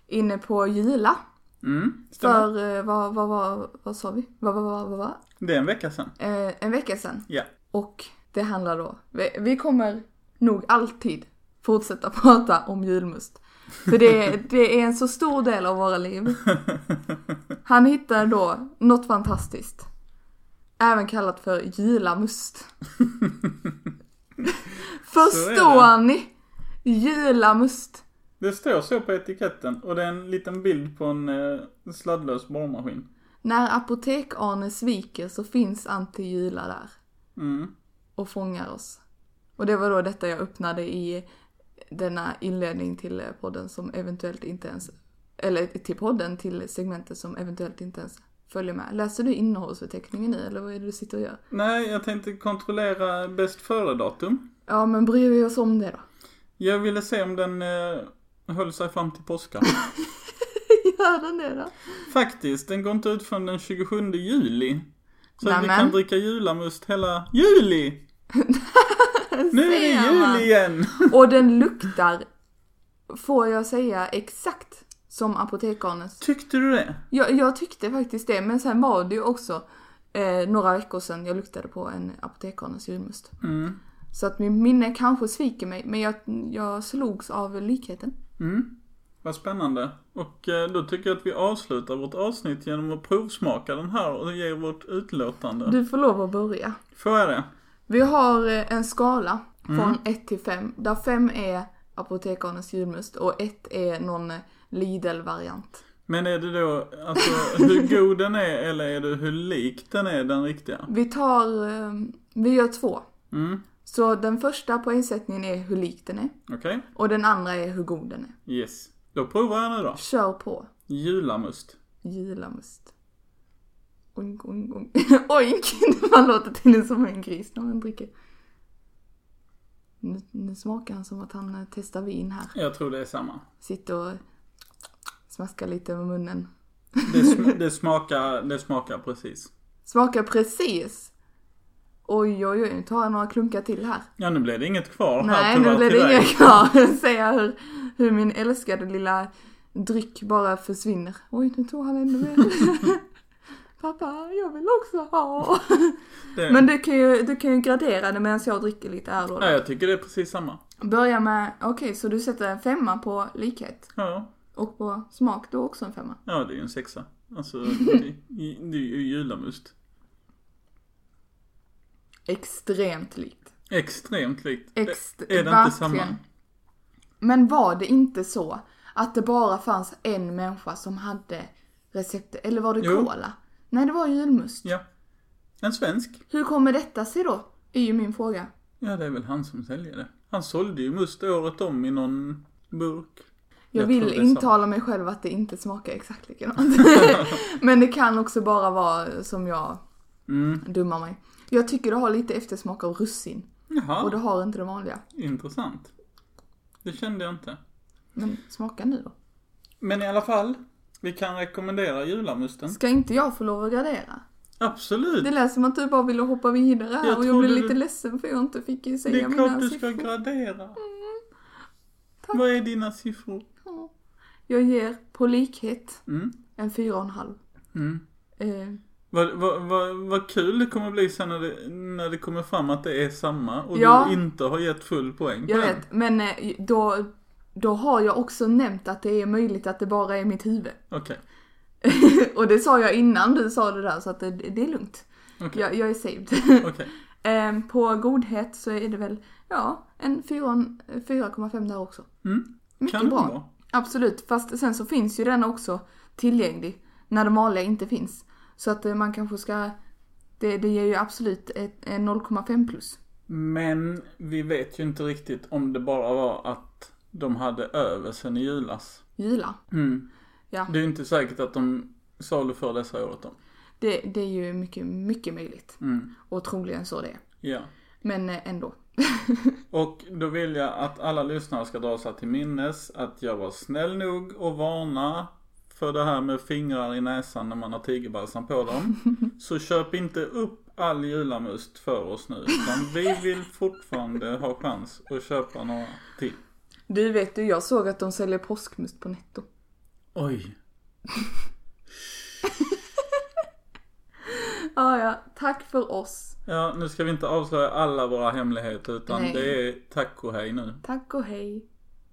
[SPEAKER 1] inne på Jula.
[SPEAKER 2] Mm. Stämmer.
[SPEAKER 1] För, eh, vad, vad, vad, vad sa vi? Vad, vad, vad, vad, vad?
[SPEAKER 2] Det är en vecka sedan.
[SPEAKER 1] Eh, en vecka sedan.
[SPEAKER 2] Ja.
[SPEAKER 1] Och det handlar då, vi, vi kommer nog alltid fortsätta prata om julmust. För det, det är en så stor del av våra liv. Han hittar då något fantastiskt. Även kallat för julamust. Förstår ni? Julamust.
[SPEAKER 2] Det står så på etiketten och det är en liten bild på en eh, sladdlös borrmaskin.
[SPEAKER 1] När apotek-Arne sviker så finns antijula där.
[SPEAKER 2] Mm.
[SPEAKER 1] och fångar oss. Och det var då detta jag öppnade i denna inledning till eh, podden som eventuellt inte ens, eller till podden, till segmentet som eventuellt inte ens följer med. Läser du innehållsförteckningen nu eller vad är det du sitter och gör?
[SPEAKER 2] Nej, jag tänkte kontrollera bäst före-datum.
[SPEAKER 1] Ja men bryr vi oss om det då?
[SPEAKER 2] Jag ville se om den eh, höll sig fram till påska.
[SPEAKER 1] Gör den det då?
[SPEAKER 2] Faktiskt, den går inte ut förrän den 27 juli. Så att vi
[SPEAKER 1] Nämen.
[SPEAKER 2] kan dricka julamust hela juli! nu är det
[SPEAKER 1] Ser man.
[SPEAKER 2] jul igen!
[SPEAKER 1] Och den luktar, får jag säga, exakt som apotekarnes.
[SPEAKER 2] Tyckte du det?
[SPEAKER 1] Jag, jag tyckte faktiskt det, men sen var det ju också eh, några veckor sedan jag luktade på en apotekarnes julmust.
[SPEAKER 2] Mm.
[SPEAKER 1] Så att min minne kanske sviker mig, men jag, jag slogs av likheten.
[SPEAKER 2] Mm. Vad spännande. Och eh, då tycker jag att vi avslutar vårt avsnitt genom att provsmaka den här och ge vårt utlåtande.
[SPEAKER 1] Du får lov att börja.
[SPEAKER 2] Får jag det?
[SPEAKER 1] Vi har eh, en skala från 1 till 5, där 5 är Apotekarnas julmust och 1 är någon eh, Lidl-variant.
[SPEAKER 2] Men är det då alltså hur god den är eller är det hur lik den är den riktiga?
[SPEAKER 1] Vi tar, eh, vi gör två.
[SPEAKER 2] Mm.
[SPEAKER 1] Så den första poängsättningen är hur lik den är
[SPEAKER 2] Okej?
[SPEAKER 1] och den andra är hur god den är.
[SPEAKER 2] Yes. Då provar jag nu då.
[SPEAKER 1] Kör på.
[SPEAKER 2] Julamust.
[SPEAKER 1] Julamust. Oink, oink, oink. oink! Man låter till som en gris när man dricker. Nu, nu smakar han som att han eh, testar vin här.
[SPEAKER 2] Jag tror det är samma.
[SPEAKER 1] Sitter och smaskar lite med munnen.
[SPEAKER 2] Det, sm- det, smakar, det smakar precis.
[SPEAKER 1] Smakar precis! Oj, oj, oj, nu tar jag några klunkar till här.
[SPEAKER 2] Ja, nu blev det inget kvar. här,
[SPEAKER 1] Nej, nu
[SPEAKER 2] tyvärr,
[SPEAKER 1] blev
[SPEAKER 2] till
[SPEAKER 1] det
[SPEAKER 2] dig.
[SPEAKER 1] inget kvar. Ser jag hur, hur min älskade lilla dryck bara försvinner. Oj, nu tog han ännu mer. Pappa, jag vill också ha.
[SPEAKER 2] Det-
[SPEAKER 1] Men du kan ju, du kan ju gradera det medan jag dricker lite här då.
[SPEAKER 2] Ja, jag tycker det är precis samma.
[SPEAKER 1] Börja med, okej, så du sätter en femma på likhet.
[SPEAKER 2] Ja,
[SPEAKER 1] Och på smak då också en femma.
[SPEAKER 2] ja det är ju en sexa. Alltså, det, det är ju julamust.
[SPEAKER 1] Extremt likt.
[SPEAKER 2] Extremt likt.
[SPEAKER 1] Ext-
[SPEAKER 2] är det inte
[SPEAKER 1] verkligen.
[SPEAKER 2] samma?
[SPEAKER 1] Men var det inte så att det bara fanns en människa som hade receptet? Eller var det
[SPEAKER 2] Jo.
[SPEAKER 1] cola? Nej, det var julmust.
[SPEAKER 2] Ja. En svensk.
[SPEAKER 1] Hur kommer detta sig då? Är ju min fråga.
[SPEAKER 2] Ja, det är väl han som säljer det. Han sålde ju must året om i någon burk.
[SPEAKER 1] Jag,
[SPEAKER 2] Jag tror
[SPEAKER 1] vill
[SPEAKER 2] det är sant.
[SPEAKER 1] intala mig själv att det inte smakar exakt likadant. Men det kan också bara vara som jag
[SPEAKER 2] Mm.
[SPEAKER 1] dummar mig. Jag tycker det har lite eftersmak av russin. Och
[SPEAKER 2] Jaha,
[SPEAKER 1] det har inte det vanliga.
[SPEAKER 2] intressant. Det kände jag inte.
[SPEAKER 1] Men smaka nu då.
[SPEAKER 2] Mm. Men i alla fall, vi kan rekommendera julamusten.
[SPEAKER 1] Ska inte jag få lov att gradera?
[SPEAKER 2] Absolut!
[SPEAKER 1] Det lät som att du bara ville hoppa vidare här
[SPEAKER 2] Jag
[SPEAKER 1] och jag
[SPEAKER 2] trodde
[SPEAKER 1] blev
[SPEAKER 2] du-
[SPEAKER 1] lite ledsen för jag inte fick ju
[SPEAKER 2] Det
[SPEAKER 1] säga
[SPEAKER 2] är
[SPEAKER 1] mina
[SPEAKER 2] klart du ska
[SPEAKER 1] siffror. Mm.
[SPEAKER 2] gradera.
[SPEAKER 1] tack.
[SPEAKER 2] Vad är dina siffror?
[SPEAKER 1] Ja. Jag ger på likhet
[SPEAKER 2] Mm.
[SPEAKER 1] en fyra och en halv.
[SPEAKER 2] Mm.
[SPEAKER 1] Eh,
[SPEAKER 2] Vad, vad, vad, vad kul det kommer bli sen när det, när det kommer fram att det är samma och
[SPEAKER 1] Ja.
[SPEAKER 2] du inte har gett full poäng
[SPEAKER 1] jag
[SPEAKER 2] på den.
[SPEAKER 1] vet, men eh, då, då har jag också nämnt att det är möjligt att det bara är mitt huvud.
[SPEAKER 2] Okej,
[SPEAKER 1] och det sa jag innan du sa det där så att det, det är lugnt.
[SPEAKER 2] Okej.
[SPEAKER 1] Jag, jag är saved.
[SPEAKER 2] okej.
[SPEAKER 1] eh, på godhet så är det väl, ja, en fyra och en- 4,5 där också.
[SPEAKER 2] Mm.
[SPEAKER 1] Mycket
[SPEAKER 2] Kan
[SPEAKER 1] bra.
[SPEAKER 2] det vara?
[SPEAKER 1] Absolut, fast sen så finns ju den också tillgänglig när de vanliga inte finns. Så att eh, man kanske ska, det, det ger ju absolut ett, en 0,5 plus.
[SPEAKER 2] Men vi vet ju inte riktigt om det bara var att de hade över sen i julas.
[SPEAKER 1] Gila.
[SPEAKER 2] Mm.
[SPEAKER 1] Ja.
[SPEAKER 2] Det är ju inte säkert att de saluför dessa året om.
[SPEAKER 1] Det, det är ju mycket, mycket möjligt.
[SPEAKER 2] Mm.
[SPEAKER 1] Och troligen så det är.
[SPEAKER 2] Ja.
[SPEAKER 1] Men eh, ändå.
[SPEAKER 2] Och då vill jag att alla lyssnare ska dra sig till minnes att jag var snäll nog och varna för det här med fingrar i näsan när man har tigerbalsam på dem. Så köp inte upp all julamust för oss nu. Utan vi vill fortfarande ha chans att köpa några till.
[SPEAKER 1] Du vet du, jag såg att de säljer påskmust på Netto.
[SPEAKER 2] Oj.
[SPEAKER 1] Ah, ja, tack för oss.
[SPEAKER 2] Ja, nu ska vi inte avslöja alla våra hemligheter utan
[SPEAKER 1] Nej.
[SPEAKER 2] det är tack och hej nu.
[SPEAKER 1] Tack och hej.